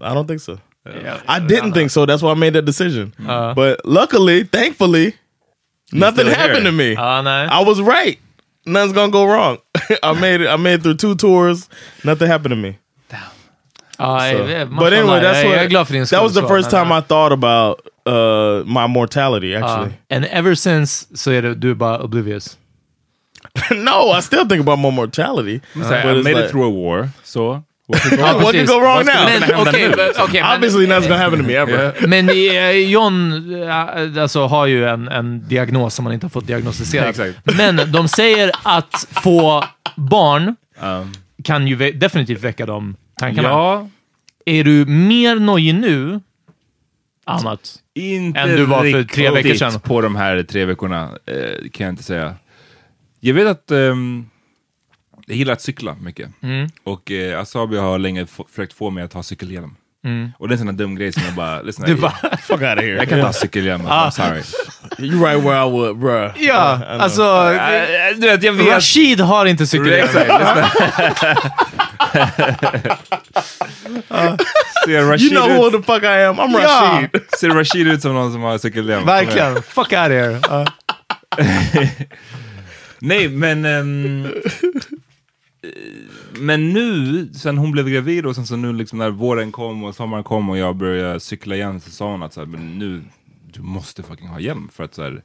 Speaker 2: I don't think so.
Speaker 3: Uh,
Speaker 2: I didn't think so. That's why I made that decision.
Speaker 1: Uh.
Speaker 2: but luckily, thankfully, nothing
Speaker 1: still
Speaker 2: happened
Speaker 1: here.
Speaker 2: to me.
Speaker 3: Ah, nej.
Speaker 2: I was right. Nothing's gonna go wrong. *laughs* I made it. I made it through two tours. Nothing happened to me.
Speaker 3: Ah, jag-
Speaker 2: So-
Speaker 3: man
Speaker 2: Alltså. but
Speaker 3: får
Speaker 2: anyway,
Speaker 3: lära.
Speaker 2: that's
Speaker 3: jag,
Speaker 2: what
Speaker 3: jag är glad för din
Speaker 2: that
Speaker 3: skull,
Speaker 2: was the
Speaker 3: så,
Speaker 2: first
Speaker 3: men-
Speaker 2: time I thought about uh, my mortality.
Speaker 3: Ah,
Speaker 2: Actually, *laughs*
Speaker 3: and ever since så är det, du är bara oblivious.
Speaker 2: no, I still think about my mortality.
Speaker 1: So I
Speaker 2: but it's
Speaker 1: made it
Speaker 2: like-
Speaker 1: through a war, so... What
Speaker 3: *laughs*
Speaker 2: What could go wrong
Speaker 1: Vad skulle
Speaker 2: now?
Speaker 1: kunna hända
Speaker 3: okej,
Speaker 1: nu?
Speaker 3: but- okej, men-
Speaker 2: Obviously, nothing's gonna happen to me ever.
Speaker 3: Men eh, John eh, alltså, har ju en, en diagnos som han inte har fått diagnostiserad.
Speaker 1: Exakt.
Speaker 3: Men de säger att få barn kan ju ve- definitivt väcka de tankarna.
Speaker 1: Ja.
Speaker 3: Är du mer nojig nu, annat,
Speaker 1: Inte
Speaker 3: än du var för tre veckor
Speaker 1: riktigt
Speaker 3: sedan?
Speaker 1: på de här tre veckorna, eh, kan jag inte säga. Jag vet att ehm, jag gillar att cykla mycket.
Speaker 3: Mm.
Speaker 1: Och eh, Asabi har länge f- försökt få mig att ha cykelhjälm.
Speaker 3: Mm.
Speaker 1: Och det är en sån här dum grej som jag bara... lyssna,
Speaker 3: Du
Speaker 1: jag-
Speaker 3: bara,
Speaker 2: Fuck out of here.
Speaker 1: Jag kan inte ha cykelhjälm, alltså, I'm
Speaker 3: Ah. *laughs*
Speaker 1: sorry.
Speaker 2: You right where I would, bruh.
Speaker 3: ja,
Speaker 2: I know.
Speaker 3: alltså...
Speaker 1: Eh, eh, Du vet, jag vet...
Speaker 3: Rashid har inte cykelhjälm.
Speaker 1: Exakt,
Speaker 3: *laughs*
Speaker 1: lyssna.
Speaker 3: Ah.
Speaker 1: *laughs* Ser Rashid
Speaker 2: you know who
Speaker 1: ut-
Speaker 2: the fuck I am. I'm
Speaker 3: Ja.
Speaker 2: Rashid.
Speaker 1: Ser Rashid ut som någon som har cykelhjälm?
Speaker 3: Verkligen. Fuck out of here. Ja.
Speaker 1: Nej, men... ehm, eh, men nu, sen hon blev gravid och sen så nu liksom när våren kom och sommaren kom och jag började cykla igen så sa hon att så här, men nu, du måste fucking ha hjälm för att så här,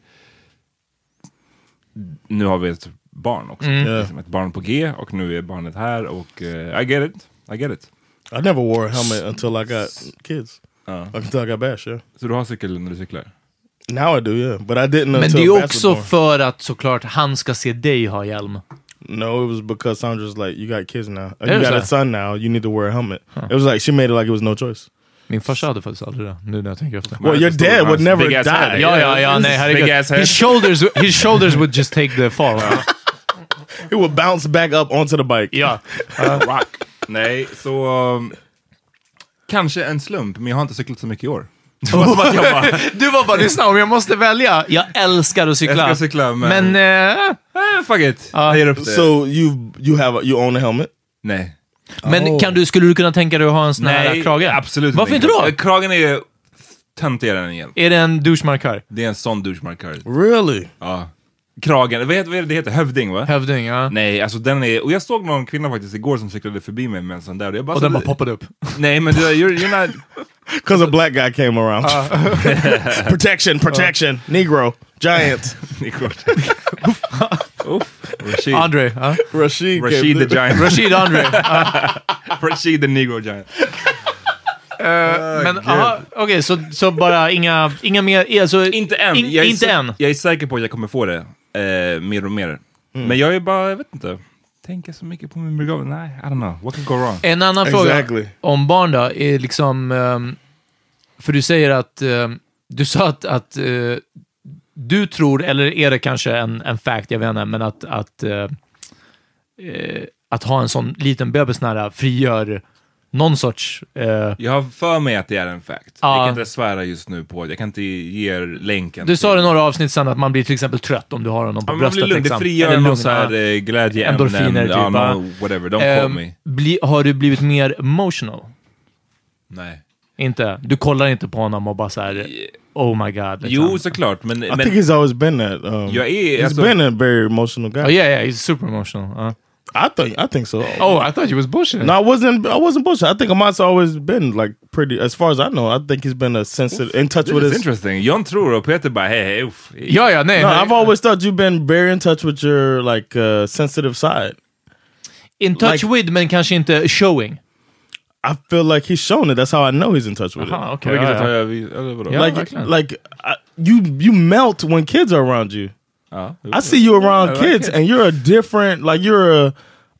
Speaker 1: nu har vi ett barn också.
Speaker 3: Mm.
Speaker 1: Liksom ett barn på G och nu är barnet här och eh, I get it, I get it.
Speaker 2: I never wore a helmet until I got kids.
Speaker 1: Ja.
Speaker 2: Until I got bashed, yeah.
Speaker 1: Så du har cykel när du cyklar?
Speaker 2: Now I do, yeah. But I didn't
Speaker 3: Men det
Speaker 2: until
Speaker 3: är
Speaker 2: Bash was
Speaker 3: också
Speaker 2: born.
Speaker 3: för att såklart han ska se dig ha hjälm.
Speaker 2: No, it was because Sandra's like, you got kids now. Uh,
Speaker 3: It
Speaker 2: You
Speaker 3: was
Speaker 2: got
Speaker 3: a-
Speaker 2: a son now. You need to wear a helmet. It was like, she made it like it was no choice.
Speaker 3: Min farsa hade faktiskt aldrig det, nu när jag tänker efter.
Speaker 2: Well, your
Speaker 1: that's the
Speaker 2: dad would
Speaker 1: big
Speaker 2: never
Speaker 1: ass
Speaker 2: die.
Speaker 1: head.
Speaker 3: Ja, ja, ja,
Speaker 2: This
Speaker 3: nej,
Speaker 2: is
Speaker 1: big
Speaker 3: herregud.
Speaker 1: ass head.
Speaker 3: His shoulders, his shoulders would just take the fall.
Speaker 2: It would bounce back up onto the bike.
Speaker 3: ja.
Speaker 1: Rock. Nej, så... um, kanske en slump, men jag har inte cyklat så mycket i år. Det var som att jag bara,
Speaker 3: *laughs* Du var bara, lyssna, om jag måste välja. Jag älskar att cykla.
Speaker 1: Jag älskar att cykla, men-
Speaker 3: Men, eh,
Speaker 1: eh, fuck it. jag ger upp det.
Speaker 2: So you you have a, you own a helmet?
Speaker 1: Nej.
Speaker 3: men kan du, skulle du kunna tänka dig att ha en sån här
Speaker 1: Oh. Nej,
Speaker 3: krage?
Speaker 1: absolut
Speaker 3: Varför inte då?
Speaker 1: Eh, Kragen är töntigare än igen.
Speaker 3: Är det en douchemarkör?
Speaker 1: Det är en sån douchemarkör.
Speaker 2: Really?
Speaker 1: Ja. Kragen, vad heter, vad är det det heter? Hövding va?
Speaker 3: Hövding, ja.
Speaker 1: Nej, alltså den är... Och jag såg någon kvinna faktiskt igår som cyklade förbi mig med en sån där. Och, jag bara,
Speaker 3: Och den
Speaker 1: så-
Speaker 3: bara poppade upp.
Speaker 1: Nej, men du, you're, you're not...
Speaker 3: *laughs*
Speaker 2: Because a black guy came around. Uh. *laughs* protection, protection. Negro, giant.
Speaker 1: Oof. Rashid.
Speaker 3: Andre,
Speaker 1: *laughs*
Speaker 3: ja.
Speaker 2: *laughs* Rashid. came
Speaker 1: Rashid the
Speaker 2: through.
Speaker 1: giant.
Speaker 3: Rashid Andre. ja.
Speaker 1: *laughs* Rashid the negro giant.
Speaker 3: Men, aha, okej, så, så bara inga, inga mer, alltså,
Speaker 1: Inte än.
Speaker 3: in-
Speaker 1: jag, är
Speaker 3: inte
Speaker 1: sä-
Speaker 3: än.
Speaker 1: jag är säker på att jag kommer få det eh, mer och mer. Men jag är bara, jag vet inte. Tänker så mycket på min begravning. Nej, I don't know. What can go wrong?
Speaker 3: En annan
Speaker 2: Exactly.
Speaker 3: fråga om barn då, är liksom... ehm, För du säger att... ehm, Du sa att, att eh, du tror, eller är det kanske en, en fact, jag vet inte, men att, att, eh, eh, att ha en sån liten bebis nära frigör någon sorts... eh,
Speaker 1: Jag har för mig att det är en fact. Jag
Speaker 3: Ja.
Speaker 1: kan inte svära just nu på det. Jag kan inte ge er länken.
Speaker 3: Du sa
Speaker 1: till-
Speaker 3: det i några avsnitt sedan att man blir till exempel trött om du har honom på
Speaker 1: Ja, men man
Speaker 3: bröstet.
Speaker 1: blir lugn. Det
Speaker 3: liksom.
Speaker 1: frigör
Speaker 3: Eller
Speaker 1: någon
Speaker 3: lugn,
Speaker 1: så här
Speaker 3: ja.
Speaker 1: eh, glädjeämnen.
Speaker 3: Endorfiner, typ,
Speaker 1: ja,
Speaker 3: va?
Speaker 1: no, whatever. Don't call
Speaker 3: Ehm,
Speaker 1: me.
Speaker 3: bli, har du blivit mer emotional?
Speaker 1: Nej.
Speaker 3: Inte? Du kollar inte på honom och bara så här, oh my god. Liksom.
Speaker 2: Jo,
Speaker 1: såklart. Men,
Speaker 2: I think he's always been that. Um,
Speaker 3: Jag är-
Speaker 2: he's
Speaker 3: alltså-
Speaker 2: been a very emotional guy.
Speaker 3: Oh, yeah, yeah, he's super emotional. Uh.
Speaker 2: I think I think so.
Speaker 3: Oh, I thought you was bullshitting.
Speaker 2: No, I wasn't. I wasn't bullshit. I think Ahmad's always been like pretty, as far as I know. I think he's been a sensitive, in touch
Speaker 1: This
Speaker 2: with
Speaker 1: is
Speaker 2: his.
Speaker 1: interesting. John tror och Peter bara hej, hej, uff.
Speaker 2: no, I've always thought you've been very in touch with your like uh, sensitive side.
Speaker 3: In touch with, men kanske inte showing.
Speaker 2: I feel like he's shown it. That's how I know he's in touch with
Speaker 3: Aha,
Speaker 1: Ah,
Speaker 2: it.
Speaker 3: okay, Vilket ja, ja. jag tar- eller vadå? Ja,
Speaker 2: like,
Speaker 3: verkligen.
Speaker 2: like I, you, you melt when kids are around you.
Speaker 1: *laughs*
Speaker 2: I see you
Speaker 1: I
Speaker 2: around
Speaker 1: like
Speaker 2: kids,
Speaker 1: kids.
Speaker 2: and you're a different. Like you're a,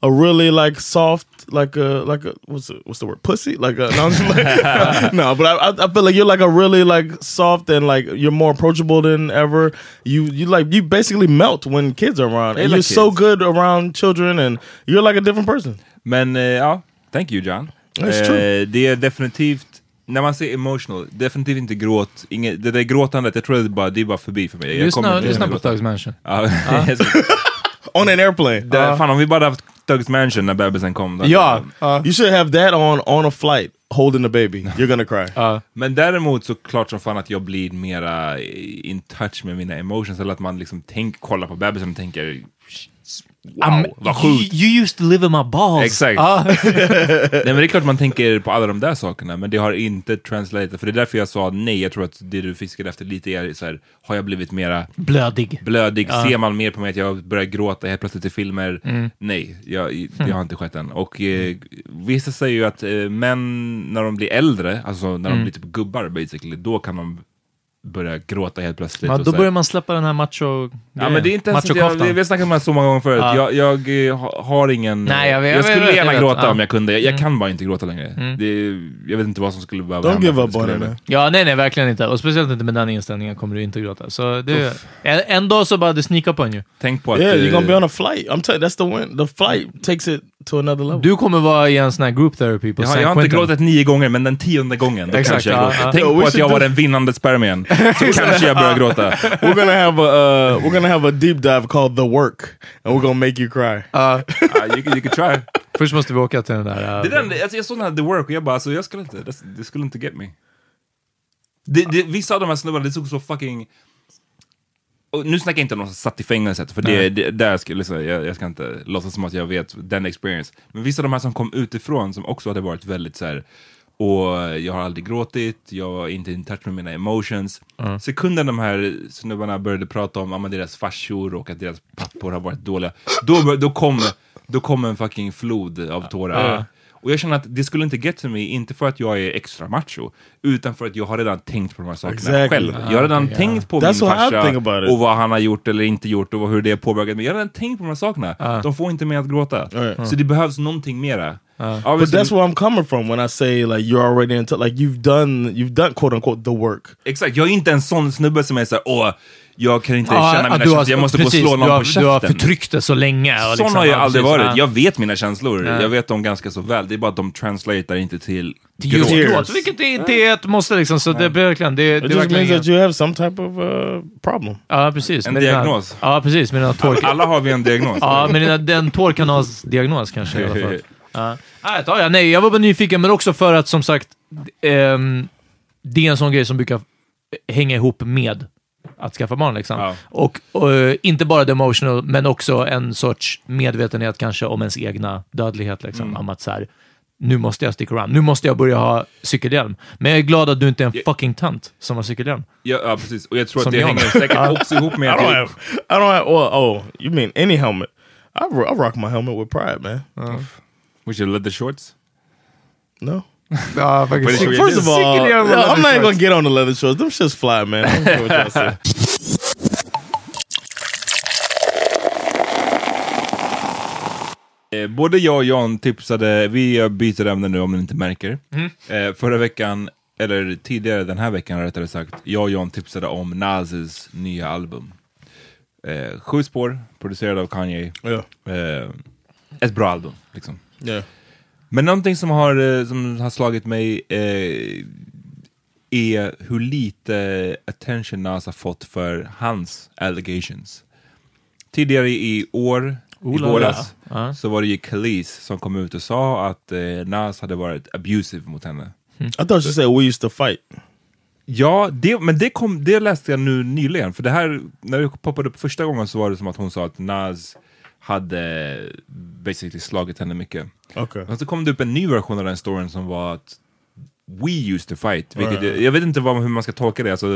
Speaker 2: a really like soft, like a like a what's the, what's the word? Pussy? Like a no, I'm just like- no, but I- I, I feel like you're like a really like soft and like you're more approachable than ever. You you like you basically melt when kids are around,
Speaker 1: They
Speaker 2: and
Speaker 1: like
Speaker 2: you're so
Speaker 1: kids.
Speaker 2: good around children, and you're like a different person.
Speaker 1: Men eh, ja, thank you John.
Speaker 2: That's
Speaker 1: Eh,
Speaker 2: true.
Speaker 1: det är definitivt, när man säger emotional, definitivt inte gråt. Inget, det där gråtandet, jag tror det är bara, det är bara förbi för mig. Jag kommer
Speaker 3: Lyssna,
Speaker 1: inte
Speaker 3: lyssna
Speaker 1: gråta.
Speaker 3: på Thugs Mansion.
Speaker 1: Ja. *laughs*
Speaker 3: Ja.
Speaker 2: On an airplane.
Speaker 1: Det, Fan om vi bara haft Thugs Mansion när bebisen kom. då-
Speaker 2: Yeah, Uh-huh. you should have that on on a flight holding the baby. You're gonna cry.
Speaker 1: Men däremot så klart som fan att jag blir mera in touch med mina emotions. Eller att man liksom tänk, kollar på bebisen och tänker wow,
Speaker 3: I'm-
Speaker 1: vad sjukt.
Speaker 3: You, you used to live in my balls.
Speaker 1: Exakt.
Speaker 3: Ah.
Speaker 1: *laughs* nej, men det är klart man tänker på alla de där sakerna, men det har inte translatat. För det är därför jag sa nej. Jag tror att det du fiskade efter lite är så här, har jag blivit mera
Speaker 3: Blödig.
Speaker 1: blödig?
Speaker 3: Ja.
Speaker 1: Ser man mer på mig att jag börjar gråta helt plötsligt i filmer?
Speaker 3: Mm.
Speaker 1: Nej, jag, det har inte skett än. Och eh, vissa säger ju att eh, män, när de blir äldre, alltså när de
Speaker 3: Mm.
Speaker 1: blir typ gubbar basically, då kan de börja gråta helt plötsligt.
Speaker 3: Ja,
Speaker 1: och
Speaker 3: då
Speaker 1: så här-
Speaker 3: börjar man släppa den här macho...
Speaker 1: alltså. Ja, men det är inte ens att jag,
Speaker 3: machokoftan.
Speaker 1: vi har snackat om det här så många gånger förut.
Speaker 3: Ja.
Speaker 1: Jag, jag, eh, ha- har ingen...
Speaker 3: Nej, jag vet- jag
Speaker 1: skulle
Speaker 3: vet- jag
Speaker 1: gärna
Speaker 3: vet.
Speaker 1: gråta
Speaker 3: Ja.
Speaker 1: om jag kunde. Jag, jag
Speaker 3: Mm.
Speaker 1: kan bara inte gråta längre.
Speaker 3: Mm.
Speaker 1: Det, jag vet inte vad som skulle behöva
Speaker 2: Don't
Speaker 1: hända
Speaker 2: give
Speaker 1: för att
Speaker 2: up
Speaker 1: det
Speaker 2: on
Speaker 1: skulle
Speaker 2: it,
Speaker 1: göra det.
Speaker 3: Ja, nej, nej, verkligen inte. Och speciellt inte med den inställningen kommer du inte gråta. Så det, en, en dag så bara det sneakar på en ju.
Speaker 1: Tänk på eh,
Speaker 2: Yeah, you're gonna be on a flight. I'm telling you, that's the win. The flight takes it to another level.
Speaker 3: Du kommer vara i en sån här group therapy på
Speaker 1: Jag
Speaker 3: San
Speaker 1: har, Oh. jag har inte
Speaker 3: Quentin.
Speaker 1: gråtit nio gånger, men den tionde gången, då
Speaker 3: Exakt,
Speaker 1: kanske jag
Speaker 3: ja,
Speaker 1: gråter.
Speaker 3: ja.
Speaker 1: Tänk
Speaker 3: Yo,
Speaker 1: på
Speaker 3: we
Speaker 1: att jag
Speaker 3: should
Speaker 1: var
Speaker 3: do-
Speaker 1: den vinnande spermien.
Speaker 2: *laughs*
Speaker 1: Så kanske jag börjar gråta. Ah,
Speaker 2: we're gonna have a uh, we're gonna have a deep dive called the work, and we're gonna make you cry.
Speaker 3: Uh,
Speaker 1: you, can- you can try.
Speaker 3: Först måste vi åka till den där... eh,
Speaker 1: Det är den, alltså jag såg den här The Work och jag bara, alltså, jag skulle inte, det, det skulle inte get me. Det, det, vissa av de här snubbarna, det såg så fucking... Och nu snackar jag inte om någon som satt i fängelset, för det,
Speaker 3: Nej.
Speaker 1: det, där ska, liksom, jag, jag ska inte låtsas som att jag vet den experience. Men vissa av de här som kom utifrån som också hade varit väldigt så här. och jag har aldrig gråtit, jag är inte in touch med mina emotions. Sekunden de här snubbarna började prata om, om deras farsor och att deras pappor har varit dåliga, då, bör- då, kom, då kom en fucking flod av tårar.
Speaker 3: Ja.
Speaker 1: Och jag känner att det skulle inte get to me, inte för att jag är extra macho, utan för att jag har redan tänkt på de här sakerna
Speaker 2: Exactly.
Speaker 1: själv. Jag har redan
Speaker 2: Ah,
Speaker 1: tänkt på
Speaker 2: That's
Speaker 1: min
Speaker 2: what I think about
Speaker 1: farsa
Speaker 2: it.
Speaker 1: och vad han har gjort eller inte gjort och hur det har påverkat mig. Jag har redan tänkt på de här sakerna.
Speaker 2: Ah.
Speaker 1: De får inte mig att gråta.
Speaker 2: Right.
Speaker 1: Så det behövs någonting mera.
Speaker 2: but that's where I'm coming from when I say like you're already into like you've done you've done quote unquote the work.
Speaker 1: Exakt, jag är inte en sån snubbe som är såhär, åh, jag kan inte
Speaker 3: Ja,
Speaker 1: känna
Speaker 3: att
Speaker 1: mina
Speaker 3: du har-
Speaker 1: känslor, jag måste
Speaker 3: precis,
Speaker 1: gå och slå någon
Speaker 3: du har,
Speaker 1: på
Speaker 3: Du har
Speaker 1: käften.
Speaker 3: förtryckt det så länge. och
Speaker 1: Sån
Speaker 3: liksom,
Speaker 1: har jag
Speaker 3: ja,
Speaker 1: aldrig
Speaker 3: precis, ja.
Speaker 1: varit. Jag vet mina känslor.
Speaker 3: Nej.
Speaker 1: Jag vet dem ganska så väl. Det är bara att de translatar inte till
Speaker 3: Till just gråt, vilket det inte är ett måste liksom. Så det är verkligen... Det, det är
Speaker 2: It just means
Speaker 3: verkligen
Speaker 2: that you have some type of uh, problem.
Speaker 3: ja, precis.
Speaker 1: En
Speaker 3: Med dina-
Speaker 1: diagnos.
Speaker 3: Ja, precis. Med dina
Speaker 1: *laughs*
Speaker 3: tår...
Speaker 1: Alla har vi en diagnos.
Speaker 3: Ja, men den, den tårkanalsdiagnos kanske i alla
Speaker 1: *laughs*
Speaker 3: fall. Ja. Ah, jag tar jag. Nej, jag var bara nyfiken, men också för att som sagt, ehm, det är en sån grej som brukar hänga ihop med att skaffa barn. Liksom. Och, och, eh, inte bara the emotional, men också en sorts medvetenhet kanske om ens egna dödlighet. Liksom. Om att så här, nu måste jag sticka around. Nu måste jag börja ha cykelhjälm. Men jag är glad att du inte är en fucking tant som har cykelhjälm.
Speaker 1: Ja, *laughs* ja, precis. Och jag tror
Speaker 3: Som
Speaker 1: att det
Speaker 3: jag.
Speaker 1: hänger säkert också ihop med
Speaker 2: I
Speaker 1: att jag,
Speaker 2: don't have I don't have well, oh you mean any helmet? I, ro- I rock my helmet with pride, man.
Speaker 1: We should let the shorts?
Speaker 2: No.
Speaker 3: Nah,
Speaker 1: fucking But it's sick- what you
Speaker 2: First
Speaker 1: do.
Speaker 2: of all,
Speaker 1: Sick in your
Speaker 2: yeah,
Speaker 1: leather
Speaker 2: I'm not even
Speaker 1: shorts.
Speaker 2: gonna get on the leather shorts. Them shits fly, man. I don't care what *laughs* y'all say.
Speaker 1: Eh, Både jag och Jan tipsade, vi byter ämne nu om ni inte märker.
Speaker 2: Mm.
Speaker 1: Eh, förra veckan, eller tidigare den här veckan rättare sagt, jag och Jan tipsade om Nazis nya album. Eh, sju spår, producerad av Kanye. Eh, ett bra album, liksom.
Speaker 2: Yeah.
Speaker 1: Men någonting som har, eh, som har slagit mig eh, är hur lite attention Nas har fått för hans allegations. Tidigare i år,
Speaker 3: Ola,
Speaker 1: i våras,
Speaker 3: ja. Ja.
Speaker 1: så var det ju Khalees som kom ut och sa att eh, Nas hade varit abusive mot henne.
Speaker 2: I thought you said we used to fight.
Speaker 1: Ja, det, men det, kom, det läste jag nu nyligen. För det här, när det poppade upp första gången så var det som att hon sa att Nas hade basically slagit henne mycket.
Speaker 2: Okej.
Speaker 1: Och så kom det upp en ny version av den storyn som var att We used to fight. Vilket,
Speaker 2: Right.
Speaker 1: Jag vet inte vad, hur man ska tolka det. Alltså,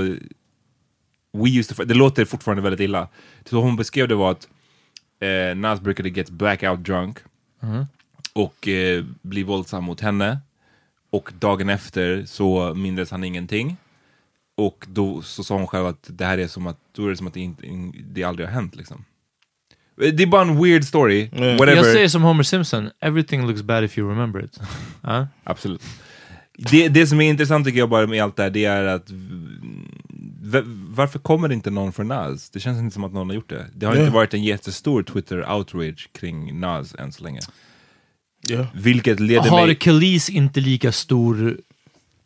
Speaker 1: we used to fight. Det låter fortfarande väldigt illa. Så hon beskrev det var att eh, Nas brukade get blackout drunk
Speaker 3: Mhm.
Speaker 1: och eh, bli våldsam mot henne. Och dagen efter så mindes han ingenting. Och då så sa hon själv att det här är som att, då är det som att det, inte, det aldrig har hänt liksom. Eh, Det är bara en weird story, whatever.
Speaker 3: Jag säger som Homer Simpson, everything looks bad if you remember it. Ja.
Speaker 1: Absolut. Det, det som är intressant tycker jag bara med allt det här, det är att mm, v- varför kommer det inte någon från Nas? Det känns inte som att någon har gjort det. Det har
Speaker 2: Ja.
Speaker 1: inte varit en jättestor Twitter-outrage kring Nas än så länge.
Speaker 2: Ja.
Speaker 1: Vilket leder
Speaker 3: Har
Speaker 1: mig...
Speaker 3: Khalees inte lika stor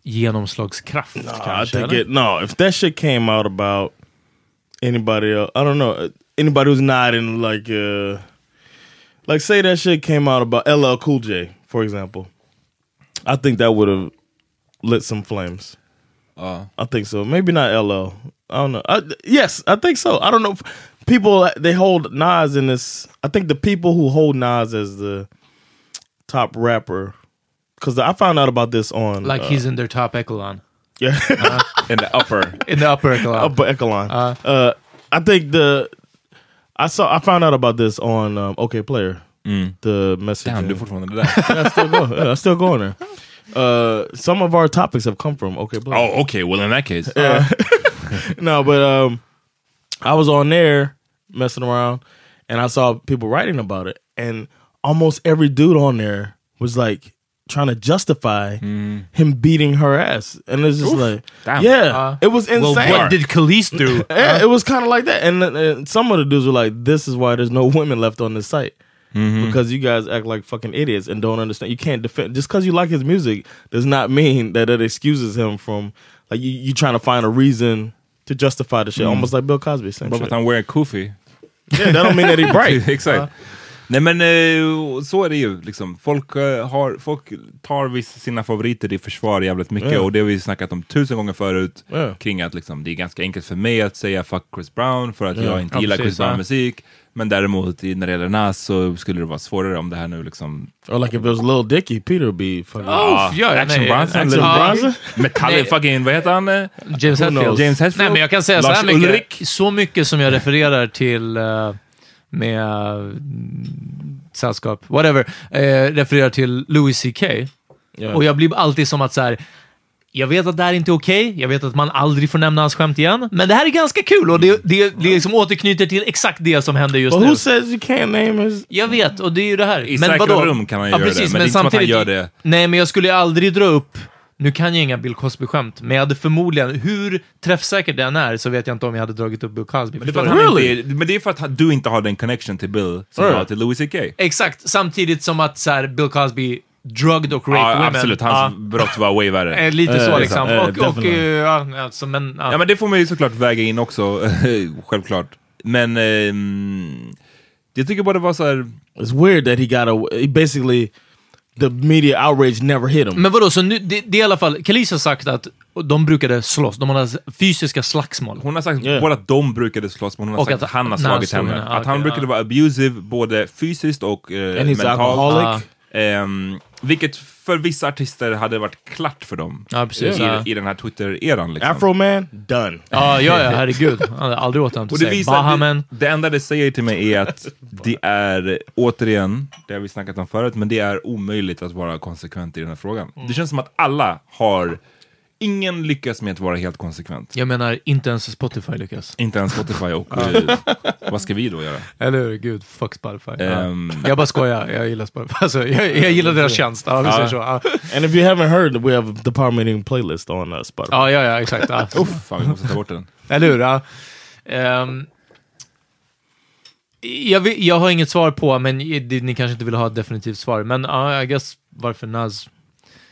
Speaker 3: genomslagskraft
Speaker 2: I
Speaker 3: kanske?
Speaker 2: think
Speaker 3: eller?
Speaker 2: it. No, if that shit came out about anybody else, I don't know uh, anybody who's not in like, uh, like say that shit came out about LL Cool J, for example. I think that would have lit some flames.
Speaker 1: Uh,
Speaker 2: I think so. Maybe not LL. I don't know. I, yes, I think so. I don't know. if- People they hold Nas in this. I think the people who hold Nas as the top rapper, because I found out about this on
Speaker 3: Like
Speaker 2: uh,
Speaker 3: he's in their top echelon.
Speaker 2: yeah.
Speaker 1: in the upper.
Speaker 3: In the upper echelon.
Speaker 2: upper echelon. Uh, I think the I saw I found out about this on um, OK Player. The message.
Speaker 1: Damn, du är fortfarande *laughs* där.
Speaker 2: yeah, I still go. Yeah, I still going there. Uh, some of our topics have come from OK Player.
Speaker 1: oh, okay, well in that case.
Speaker 2: no, but um, I was on there messing around, and I saw people writing about it, and almost every dude on there was like trying to justify him beating her ass, and it's just like,
Speaker 1: Damn.
Speaker 2: yeah, it was insane.
Speaker 3: Uh-huh. Uh, well, what did Khalees
Speaker 2: *laughs*
Speaker 3: do?
Speaker 2: Yeah, it was kind of like that, and, uh, and some of the dudes were like, "This is why there's no *laughs* women left on this site." Because you guys act like fucking idiots and don't understand. You can't defend just because you like his music does not mean that it excuses him from like you. You trying to find a reason to justify the shit, almost like Bill Cosby. Same
Speaker 1: Bara för
Speaker 2: shit.
Speaker 1: att han wear a koofy.
Speaker 2: Yeah, that don't mean *laughs* that he
Speaker 1: *laughs*
Speaker 2: bright.
Speaker 1: Exakt. Nej men eh, så är det ju liksom. Folk, eh, har, folk tar visst sina favoriter i försvar jävligt mycket
Speaker 2: Ja.
Speaker 1: och det har vi snackat om tusen gånger förut
Speaker 2: Ja.
Speaker 1: kring att liksom, det är ganska enkelt för mig att säga fuck Chris Brown för att
Speaker 2: Ja.
Speaker 1: jag inte
Speaker 3: Ja,
Speaker 1: gillar
Speaker 3: precis,
Speaker 1: Chris Brown
Speaker 3: ja.
Speaker 1: musik. Men däremot i- när det gäller Nas så skulle det vara svårare om det här nu liksom...
Speaker 2: Or like if it was Lil Dicky, Peter would be fucking.
Speaker 3: Oh, ja,
Speaker 1: Action
Speaker 3: nej,
Speaker 1: Bronson,
Speaker 3: Action
Speaker 1: Lil
Speaker 3: Bronson. Uh,
Speaker 1: Metallic
Speaker 3: Nej.
Speaker 1: fucking, vad heter han? eh?
Speaker 3: James
Speaker 2: Who
Speaker 3: Hetfield.
Speaker 2: knows?
Speaker 1: James Hetfield?
Speaker 3: Nej, men jag kan säga
Speaker 1: Lars
Speaker 3: så här mycket.
Speaker 1: Ulrik?
Speaker 3: Så mycket som jag refererar till eh, med eh, sällskap, whatever, eh, refererar till Louis CK.
Speaker 2: Yeah.
Speaker 3: Och jag blir alltid som att så här. Jag vet att det här inte är okej, jag vet att man aldrig får nämna hans skämt igen, men det här är ganska kul och det, det, det liksom återknyter till exakt det som händer just
Speaker 2: But who
Speaker 3: nu.
Speaker 2: says you can't name his?
Speaker 3: Jag vet, och det är ju det här.
Speaker 1: I säkra rum kan man göra det, men det är inte som att han gör det.
Speaker 3: Nej, men jag skulle aldrig dra upp... Nu kan jag inga Bill Cosby-skämt, men jag hade förmodligen... Hur träffsäker den är så vet jag inte om jag hade dragit upp Bill Cosby.
Speaker 1: Men det, är för
Speaker 3: förstår
Speaker 1: att
Speaker 3: du?
Speaker 1: han inte, men det är för att han- du inte har den connection till Bill som du har till Louis CK.
Speaker 3: Exakt, samtidigt som att så här, Bill Cosby drugged och raped
Speaker 1: Ja,
Speaker 3: women.
Speaker 1: absolut, hans brott var way värre.
Speaker 3: Ja, eh, lite
Speaker 2: Eh,
Speaker 3: så liksom.
Speaker 2: eh,
Speaker 3: och, och,
Speaker 2: definitely.
Speaker 3: eh, ja, alltså, men, ja.
Speaker 1: Ja, men det får man ju såklart väga in också, *laughs* självklart. Men ehm, jag tycker bara det var så här...
Speaker 2: It's weird that he got a. He basically, the media outrage never hit him.
Speaker 3: Men vadå, så nu, det, det är i alla fall... Khalees har sagt att de brukade slåss, de hade fysiska slagsmål.
Speaker 1: Hon har sagt
Speaker 2: Yeah.
Speaker 1: både att de brukade slåss, men hon har
Speaker 3: Och
Speaker 1: sagt
Speaker 3: att
Speaker 1: att han har
Speaker 3: han
Speaker 1: slagit
Speaker 3: slog
Speaker 1: henne.
Speaker 3: henne.
Speaker 1: Att han
Speaker 3: Okej,
Speaker 1: brukade
Speaker 3: ja.
Speaker 1: vara abusive, både fysiskt och eh,
Speaker 2: And he's
Speaker 1: mentalt.
Speaker 2: alcoholic.
Speaker 1: Ehm, vilket för vissa artister hade varit klart för dem
Speaker 3: Ja, precis.
Speaker 1: i,
Speaker 3: Ja.
Speaker 1: i den här Twitter-eran. Liksom.
Speaker 2: Afro man done.
Speaker 3: Ja, ja, ja, herregud. Han hade aldrig återhämtat
Speaker 1: Och det,
Speaker 3: sig.
Speaker 1: visar,
Speaker 3: Bahamen.
Speaker 1: det, det enda det säger till mig är att det är, återigen, det har vi snackat om förut, men det är omöjligt att vara konsekvent i den här frågan. Det känns som att alla har, ingen lyckas med att vara helt konsekvent.
Speaker 3: Jag menar, inte ens Spotify lyckas.
Speaker 1: Inte ens Spotify och eh, vad ska vi då göra?
Speaker 3: Eller hur? Gud, fuck Spotify.
Speaker 1: Ehm.
Speaker 3: Ja. Jag bara skojar. Jag gillar Spotify. *laughs* Alltså, jag, jag gillar deras tjänst. Ja, vi säger så. Ja,
Speaker 2: And if you haven't heard, we have the Power Meeting playlist on uh, Spotify.
Speaker 3: ja, ja, ja exakt. Ja.
Speaker 1: Fan, vi måste ta bort den.
Speaker 3: Eller hur? Ja. Ehm, jag, vet- jag har inget svar på, men i- det, ni kanske inte vill ha ett definitivt svar. Men ja, I guess varför Nas...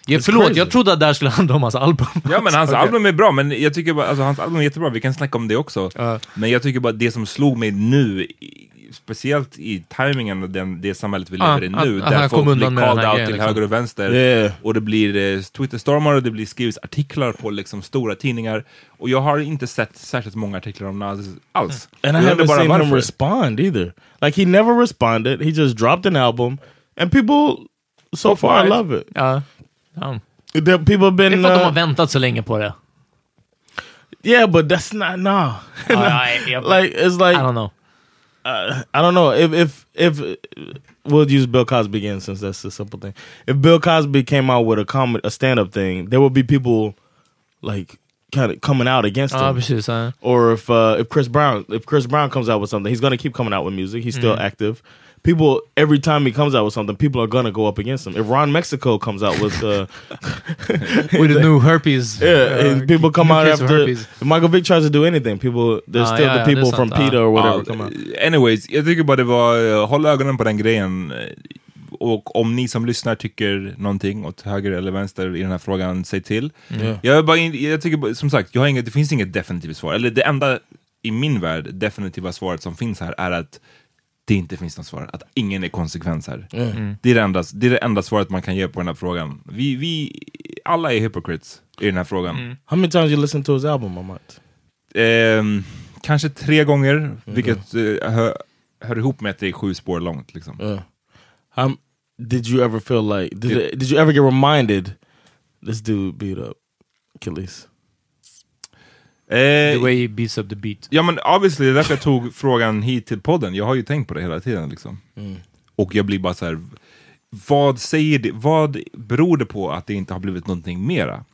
Speaker 3: Ja,
Speaker 2: It's
Speaker 3: förlåt,
Speaker 2: crazy.
Speaker 3: jag trodde att det här skulle *laughs* handla om hans album.
Speaker 1: *laughs* Ja men hans album är bra, men jag tycker bara, alltså hans album är jättebra, vi kan snacka om det också. Men jag tycker bara det som slog mig nu, i- speciellt i timingen av den, det samhället vi
Speaker 3: Ja,
Speaker 1: lever
Speaker 3: att-
Speaker 1: i nu,
Speaker 3: att
Speaker 1: där
Speaker 3: han kom
Speaker 1: folk blir
Speaker 3: undan med den
Speaker 1: called
Speaker 3: här
Speaker 1: out
Speaker 3: grejen,
Speaker 1: till
Speaker 3: liksom.
Speaker 1: höger och vänster
Speaker 2: Yeah.
Speaker 1: och det blir eh, twitterstormar och det blir skrivs artiklar på liksom stora tidningar och jag har inte sett särskilt många artiklar om Nas alls.
Speaker 2: Mm. And I
Speaker 1: jag undrar
Speaker 2: haven't
Speaker 1: bara
Speaker 2: seen him
Speaker 1: varför.
Speaker 2: respond either. Like he never responded. He just dropped an album, and people so far
Speaker 3: right.
Speaker 2: love it.
Speaker 3: Ja. Ja.
Speaker 2: The people have
Speaker 3: Det är
Speaker 2: been
Speaker 3: för att de har
Speaker 2: uh,
Speaker 3: väntat så länge på det.
Speaker 2: yeah, but that's not nah.
Speaker 3: *laughs* I,
Speaker 2: like it's like I don't
Speaker 3: know.
Speaker 2: Uh, I don't know if if if we'll use Bill Cosby again since that's a simple thing. If Bill Cosby came out with a comedy, a stand up thing, there would be people like kind of coming out against
Speaker 3: Ja,
Speaker 2: him.
Speaker 3: precis. Ja.
Speaker 2: Or if uh, if Chris Brown if Chris Brown comes out with something, he's gonna keep coming out with music. He's still
Speaker 3: Mhm.
Speaker 2: active. People every time he comes out with something, people are gonna go up against him. If Ron Mexico comes out with uh,
Speaker 3: With the new herpes,
Speaker 2: *laughs* yeah,
Speaker 3: uh,
Speaker 2: and people come
Speaker 3: new
Speaker 2: out
Speaker 3: case of
Speaker 2: after.
Speaker 3: herpes.
Speaker 2: If Michael Vick tries to do anything, people there's
Speaker 1: Ah,
Speaker 2: still
Speaker 1: ja,
Speaker 2: the
Speaker 1: ja,
Speaker 2: people
Speaker 1: det är
Speaker 2: from
Speaker 1: sant,
Speaker 2: PETA
Speaker 1: ja.
Speaker 2: or whatever
Speaker 1: Ja,
Speaker 2: come out.
Speaker 1: Anyways, jag tycker bara det var, eh, håll ögonen på den grejen. eh, Och om ni som lyssnar tycker någonting åt höger eller vänster i den här frågan, säg till.
Speaker 2: Mm. Ja.
Speaker 1: Jag, är bara in, jag tycker bara- som sagt, jag har inget, det finns inget definitivt svar. Eller det enda i min värld definitiva svaret som finns här är att det inte finns något svar, att ingen är konsekvens här.
Speaker 2: Mm. Mm.
Speaker 1: Det, är det, enda, det är det enda svaret man kan ge på den här frågan. Vi, vi alla är hypocrites i den här frågan.
Speaker 2: How many times you listen to his album, Amat?
Speaker 1: Ehm, kanske tre gånger, vilket eh, hör, hör ihop med att det är sju spår långt. Liksom.
Speaker 2: Um, did you ever feel like did
Speaker 1: Yeah.
Speaker 2: it- did you ever get reminded this dude beat up Achilles?
Speaker 1: the
Speaker 3: way he beats up the beat.
Speaker 1: Eh, Ja men obviously, det är därför jag tog frågan hit till podden. Jag har ju tänkt på det hela tiden. Liksom.
Speaker 2: Mm.
Speaker 1: Och jag blir bara så här, vad säger det, vad beror det på att det inte har blivit någonting mera?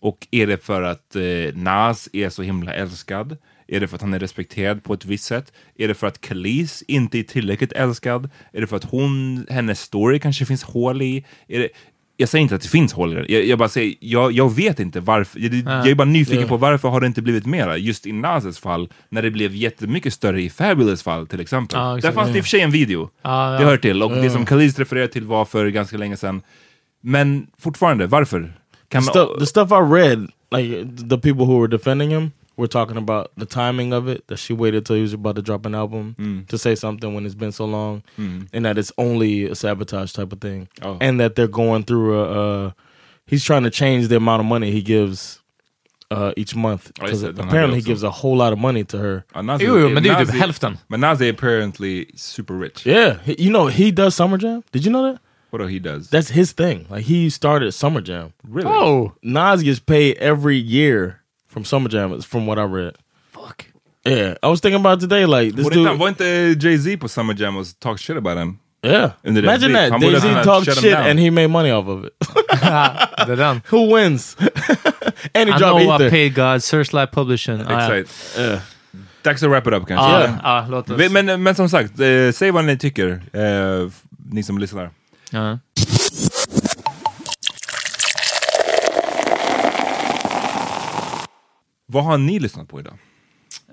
Speaker 1: Och är det för att eh, Nas är så himla älskad? Är det för att han är respekterad på ett visst sätt? Är det för att Khalees inte är tillräckligt älskad? Är det för att hon, hennes story kanske finns hål i? Är det, jag säger inte att det finns hål i den. Jag, jag bara säger, jag, jag vet inte varför. Jag, jag är bara nyfiken
Speaker 2: Ja.
Speaker 1: på varför har det inte blivit mera? Just i Nas fall, när det blev jättemycket större i Fabulous fall till exempel.
Speaker 3: Ja,
Speaker 1: Där
Speaker 3: exakt.
Speaker 1: fanns det i och för sig en video.
Speaker 3: Ja, ja.
Speaker 1: Det hör till. Och det
Speaker 3: Ja.
Speaker 1: som Khalees refererar till var för ganska länge sedan. Men fortfarande, varför? Kan
Speaker 2: the, stu- the stuff I read, like the people who were defending him, were talking about the timing of it. That she waited till he was about to drop an album
Speaker 1: Mm.
Speaker 2: to say something when it's been so long,
Speaker 1: Mm.
Speaker 2: and that it's only a sabotage type of thing,
Speaker 1: Oh.
Speaker 2: and that they're going through a. Uh, he's trying to change the amount of money he gives uh, each month
Speaker 1: Oh, he
Speaker 2: 'cause
Speaker 1: said that
Speaker 2: apparently he
Speaker 1: also.
Speaker 2: gives a whole lot of money to her.
Speaker 1: Ja, Nas
Speaker 2: Jo, jo, men det är ju
Speaker 1: Nas
Speaker 2: typ hälften.
Speaker 1: Men Nas är apparently super rich.
Speaker 2: Yeah, he- you know he does Summer Jam. Did you know that?
Speaker 1: What he does?
Speaker 2: That's his thing. Like he started Summer Jam.
Speaker 1: Really?
Speaker 2: Oh, Nas gets paid every year from Summer Jam. is From what I read. Fuck. Yeah, I was thinking about today. Like this
Speaker 1: Var
Speaker 2: dude.
Speaker 1: inte, var inte Jay-Z på Summer Jam och talk shit about him?
Speaker 2: yeah.
Speaker 1: Under deras
Speaker 2: Imagine
Speaker 1: beef.
Speaker 2: that.
Speaker 1: Han borde
Speaker 2: Jay Z
Speaker 1: ha
Speaker 2: talked
Speaker 1: shut him
Speaker 2: shit
Speaker 1: down.
Speaker 2: and he made money off of it. *laughs*
Speaker 3: They're done.
Speaker 2: Who wins? *laughs* and he
Speaker 3: I
Speaker 2: dropped
Speaker 3: know I
Speaker 2: Ether.
Speaker 3: paid God, Searchlight Publishing. Ah, ja. Ah,
Speaker 1: Exakt. Dags att wrap it up kanske.
Speaker 3: Ja, Ja. ja, låt oss.
Speaker 1: Vi- Men, men som sagt, eh, säg vad ni tycker, eh, f- ni som lyssnar.
Speaker 3: Ja.
Speaker 1: Vad har ni lyssnat på idag?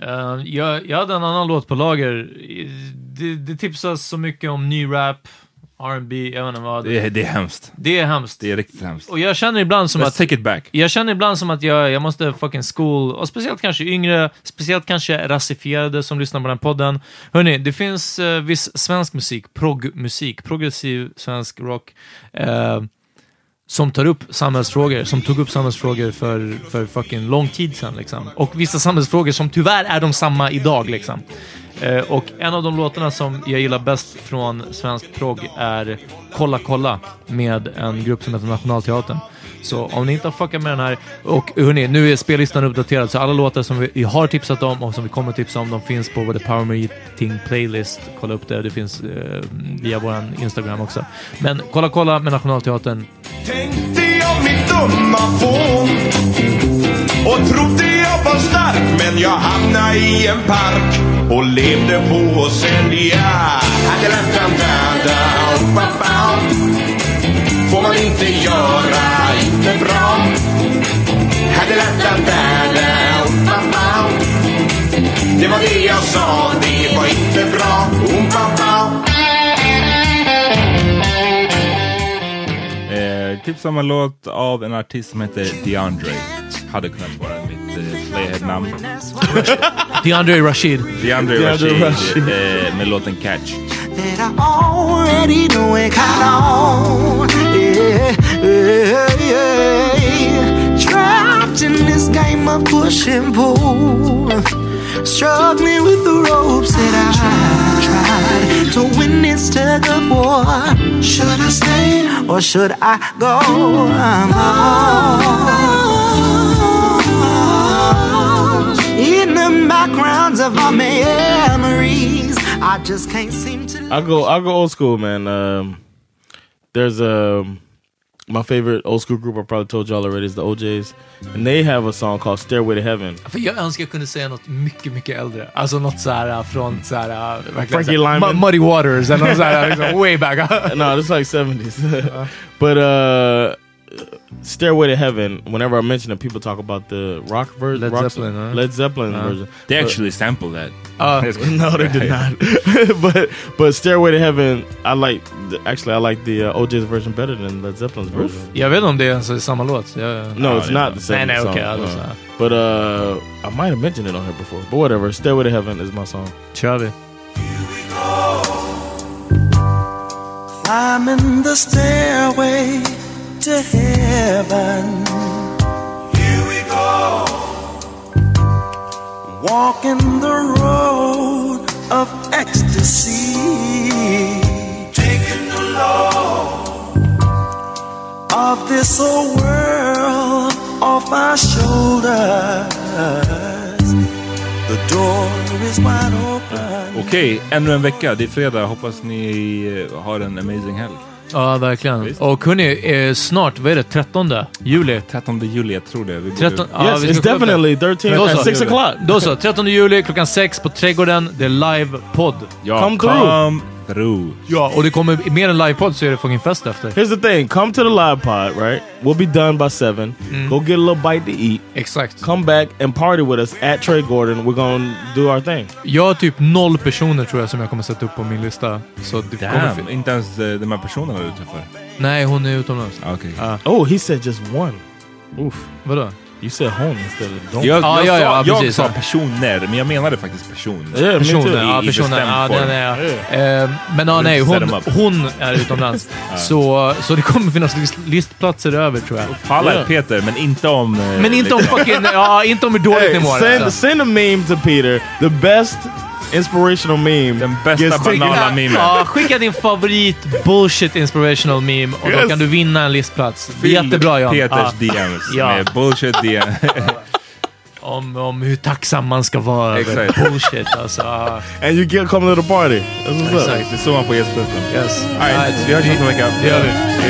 Speaker 3: Eh, jag, jag hade en annan låt på lager. Det, det tipsas så mycket om ny rap, R&B, jag vet inte vad.
Speaker 1: Det är, det är hemskt.
Speaker 3: Det är hemskt.
Speaker 1: Det är riktigt hemskt.
Speaker 3: Och jag känner ibland som
Speaker 1: Let's
Speaker 3: att...
Speaker 1: take it back.
Speaker 3: Jag känner ibland som att jag, jag måste fucking school, och speciellt kanske yngre, speciellt kanske rasifierade som lyssnar på den här podden. Hörni, det finns eh, viss svensk musik, proggmusik, progressiv svensk rock, eh, som tar upp samhällsfrågor, som tog upp samhällsfrågor för, för fucking lång tid sedan liksom. Och vissa samhällsfrågor som tyvärr är de samma idag liksom. Eh, och en av de låtarna som jag gillar bäst från svensk prog är Kolla kolla med en grupp som heter Nationalteatern. Så om ni inte har fuckat med den här, och hörni, nu är spellistan uppdaterad så alla låtar som vi har tipsat om och som vi kommer att tipsa om, de finns på vår The Power Meeting Playlist. Kolla upp det, det finns eh, via vår Instagram också. Men Kolla kolla med Nationalteatern,
Speaker 6: Tänkte jag mitt dumma fån och trodde jag var stark men jag hamnade i en park och levde på att sälja. Adeladandadan, Får man inte göra, inte bra. Adeladandadan, Det var det jag sa, det var inte bra.
Speaker 1: typ Eh, tips om en låt av en artist som heter DeAndre. Hade kunnat vara mitt eh, play eh, namn.
Speaker 3: DeAndre Rashid.
Speaker 1: DeAndre
Speaker 3: DeAndre
Speaker 1: Rashid,
Speaker 3: Rashid.
Speaker 1: Eh, med låten Catch.
Speaker 4: that I already know it caught on. Yeah, yeah, yeah. Trapped in this game of push and pull, struggling with the ropes that I tried to win this tug of war. Should I stay or should I go? I'm lost in the backgrounds of our memories. I just can't seem to.
Speaker 2: I'll go. I'll go old school, man. Um, there's um, my favorite old school group. I probably told y'all already is the OJ's, and they have a song called "Stairway to Heaven."
Speaker 3: För jag önskar jag kunde säga något mycket, mycket äldre. Alltså något såhär från såhär... verkligen
Speaker 2: Frankie
Speaker 3: såhär,
Speaker 2: Lyman,
Speaker 3: Mu- Muddy Waters eller något såhär. Liksom, way back. *laughs*
Speaker 2: no, it's like seventies. *laughs*
Speaker 3: Uh-huh.
Speaker 2: but uh, "Stairway to Heaven." Whenever I mention it, people talk about the rock version,
Speaker 3: Led
Speaker 2: rock,
Speaker 3: Zeppelin, huh?
Speaker 2: Led Zeppelin
Speaker 3: Uh.
Speaker 2: version.
Speaker 1: They
Speaker 2: But-
Speaker 1: actually sampled that.
Speaker 2: Uh, no, they did not. *laughs* but but "Stairway to Heaven," I like. The, actually, I like the uh, OJ's version better than Led Zeppelin's version.
Speaker 3: Jag vet inte om det är ens samma låt. Jag,
Speaker 2: No, it's not
Speaker 3: Nej,
Speaker 2: the same
Speaker 3: nej,
Speaker 2: song.
Speaker 3: okej.
Speaker 2: Uh,
Speaker 3: alltså, såhär.
Speaker 2: but uh, I might have mentioned it on here before. But whatever. Stairway to Heaven is my song.
Speaker 3: Chubby.
Speaker 4: Climbing the stairway to heaven. Here we go. Walking the road of ecstasy. Taking the law of this old world off our shoulders. The door is wide open.
Speaker 1: Okej, ännu en vecka. Det är fredag. Hoppas ni eh, har en amazing helg.
Speaker 3: Ja, verkligen. Och hörni, eh, snart, vad är det, 13 juli?
Speaker 1: 13 juli, jag tror det. Vi borde-
Speaker 3: 13, ja,
Speaker 2: Yes,
Speaker 3: vi
Speaker 2: it's
Speaker 3: ska kolla upp det.
Speaker 2: definitely 13
Speaker 3: Då
Speaker 2: at
Speaker 3: så.
Speaker 2: 6 o'clock.
Speaker 3: Då så, 13 juli klockan 6 på Trädgården. Det är livepodd.
Speaker 1: Ja,
Speaker 2: Come through.
Speaker 1: Come through.
Speaker 3: Ja, och det kommer mer än livepodd så är det fucking fest efter.
Speaker 2: Here's the thing. Come to the live pod, right? We'll be done by 7.
Speaker 3: Mm-hmm.
Speaker 2: Go get a little bite to eat.
Speaker 3: Exakt.
Speaker 2: Come back and party with us at Trey Gordon. We're going to do our thing.
Speaker 3: Jag har typ noll personer tror jag som jag kommer sätta upp på min lista. Så det kommer
Speaker 1: Damn, inte ens eh, de här personerna du träffar. Ah,
Speaker 3: Nej, hon är utomlands.
Speaker 1: Okej.
Speaker 2: oh, he said just one. Oof.
Speaker 3: Vadå?
Speaker 2: You said home instead of don't.
Speaker 1: Jag,
Speaker 3: Ja,
Speaker 1: jag,
Speaker 3: ja,
Speaker 1: sa,
Speaker 3: ja,
Speaker 1: jag
Speaker 3: precis,
Speaker 1: sa
Speaker 3: ja.
Speaker 1: personer, men jag menade faktiskt person.
Speaker 3: Personer, ja,
Speaker 1: I
Speaker 3: personer.
Speaker 1: bestämd
Speaker 3: Ja,
Speaker 1: form.
Speaker 3: den är, eh, men ja,
Speaker 1: Du
Speaker 3: nej,
Speaker 1: ställer
Speaker 3: hon,
Speaker 1: dem upp.
Speaker 3: hon är utomlands. så, så det kommer finnas list, listplatser över tror jag.
Speaker 1: Palla är Peter, men inte om... eh,
Speaker 3: Men inte om
Speaker 1: liksom-
Speaker 3: fucking... Ja, inte om hur dåligt
Speaker 2: Hey,
Speaker 3: ni mår.
Speaker 2: send,
Speaker 3: alltså.
Speaker 2: send a meme to Peter. The best inspirational meme. The
Speaker 1: best
Speaker 3: Ja, skicka din favorit bullshit inspirational meme och då
Speaker 2: Yes.
Speaker 3: kan du vinna en listplats.
Speaker 1: Fyll
Speaker 3: Jättebra John.
Speaker 1: Peters
Speaker 3: Ja.
Speaker 1: DMs
Speaker 3: Ja.
Speaker 1: med bullshit DM.
Speaker 3: Om, om hur tacksam man ska vara
Speaker 1: Exakt.
Speaker 3: över bullshit alltså. Ja.
Speaker 2: And you get come to the party. That's what's up.
Speaker 3: Exakt.
Speaker 1: Det är *laughs* så man får gästbästen.
Speaker 3: Yes.
Speaker 1: All right, vi hörs nästa vecka.
Speaker 3: Det gör vi.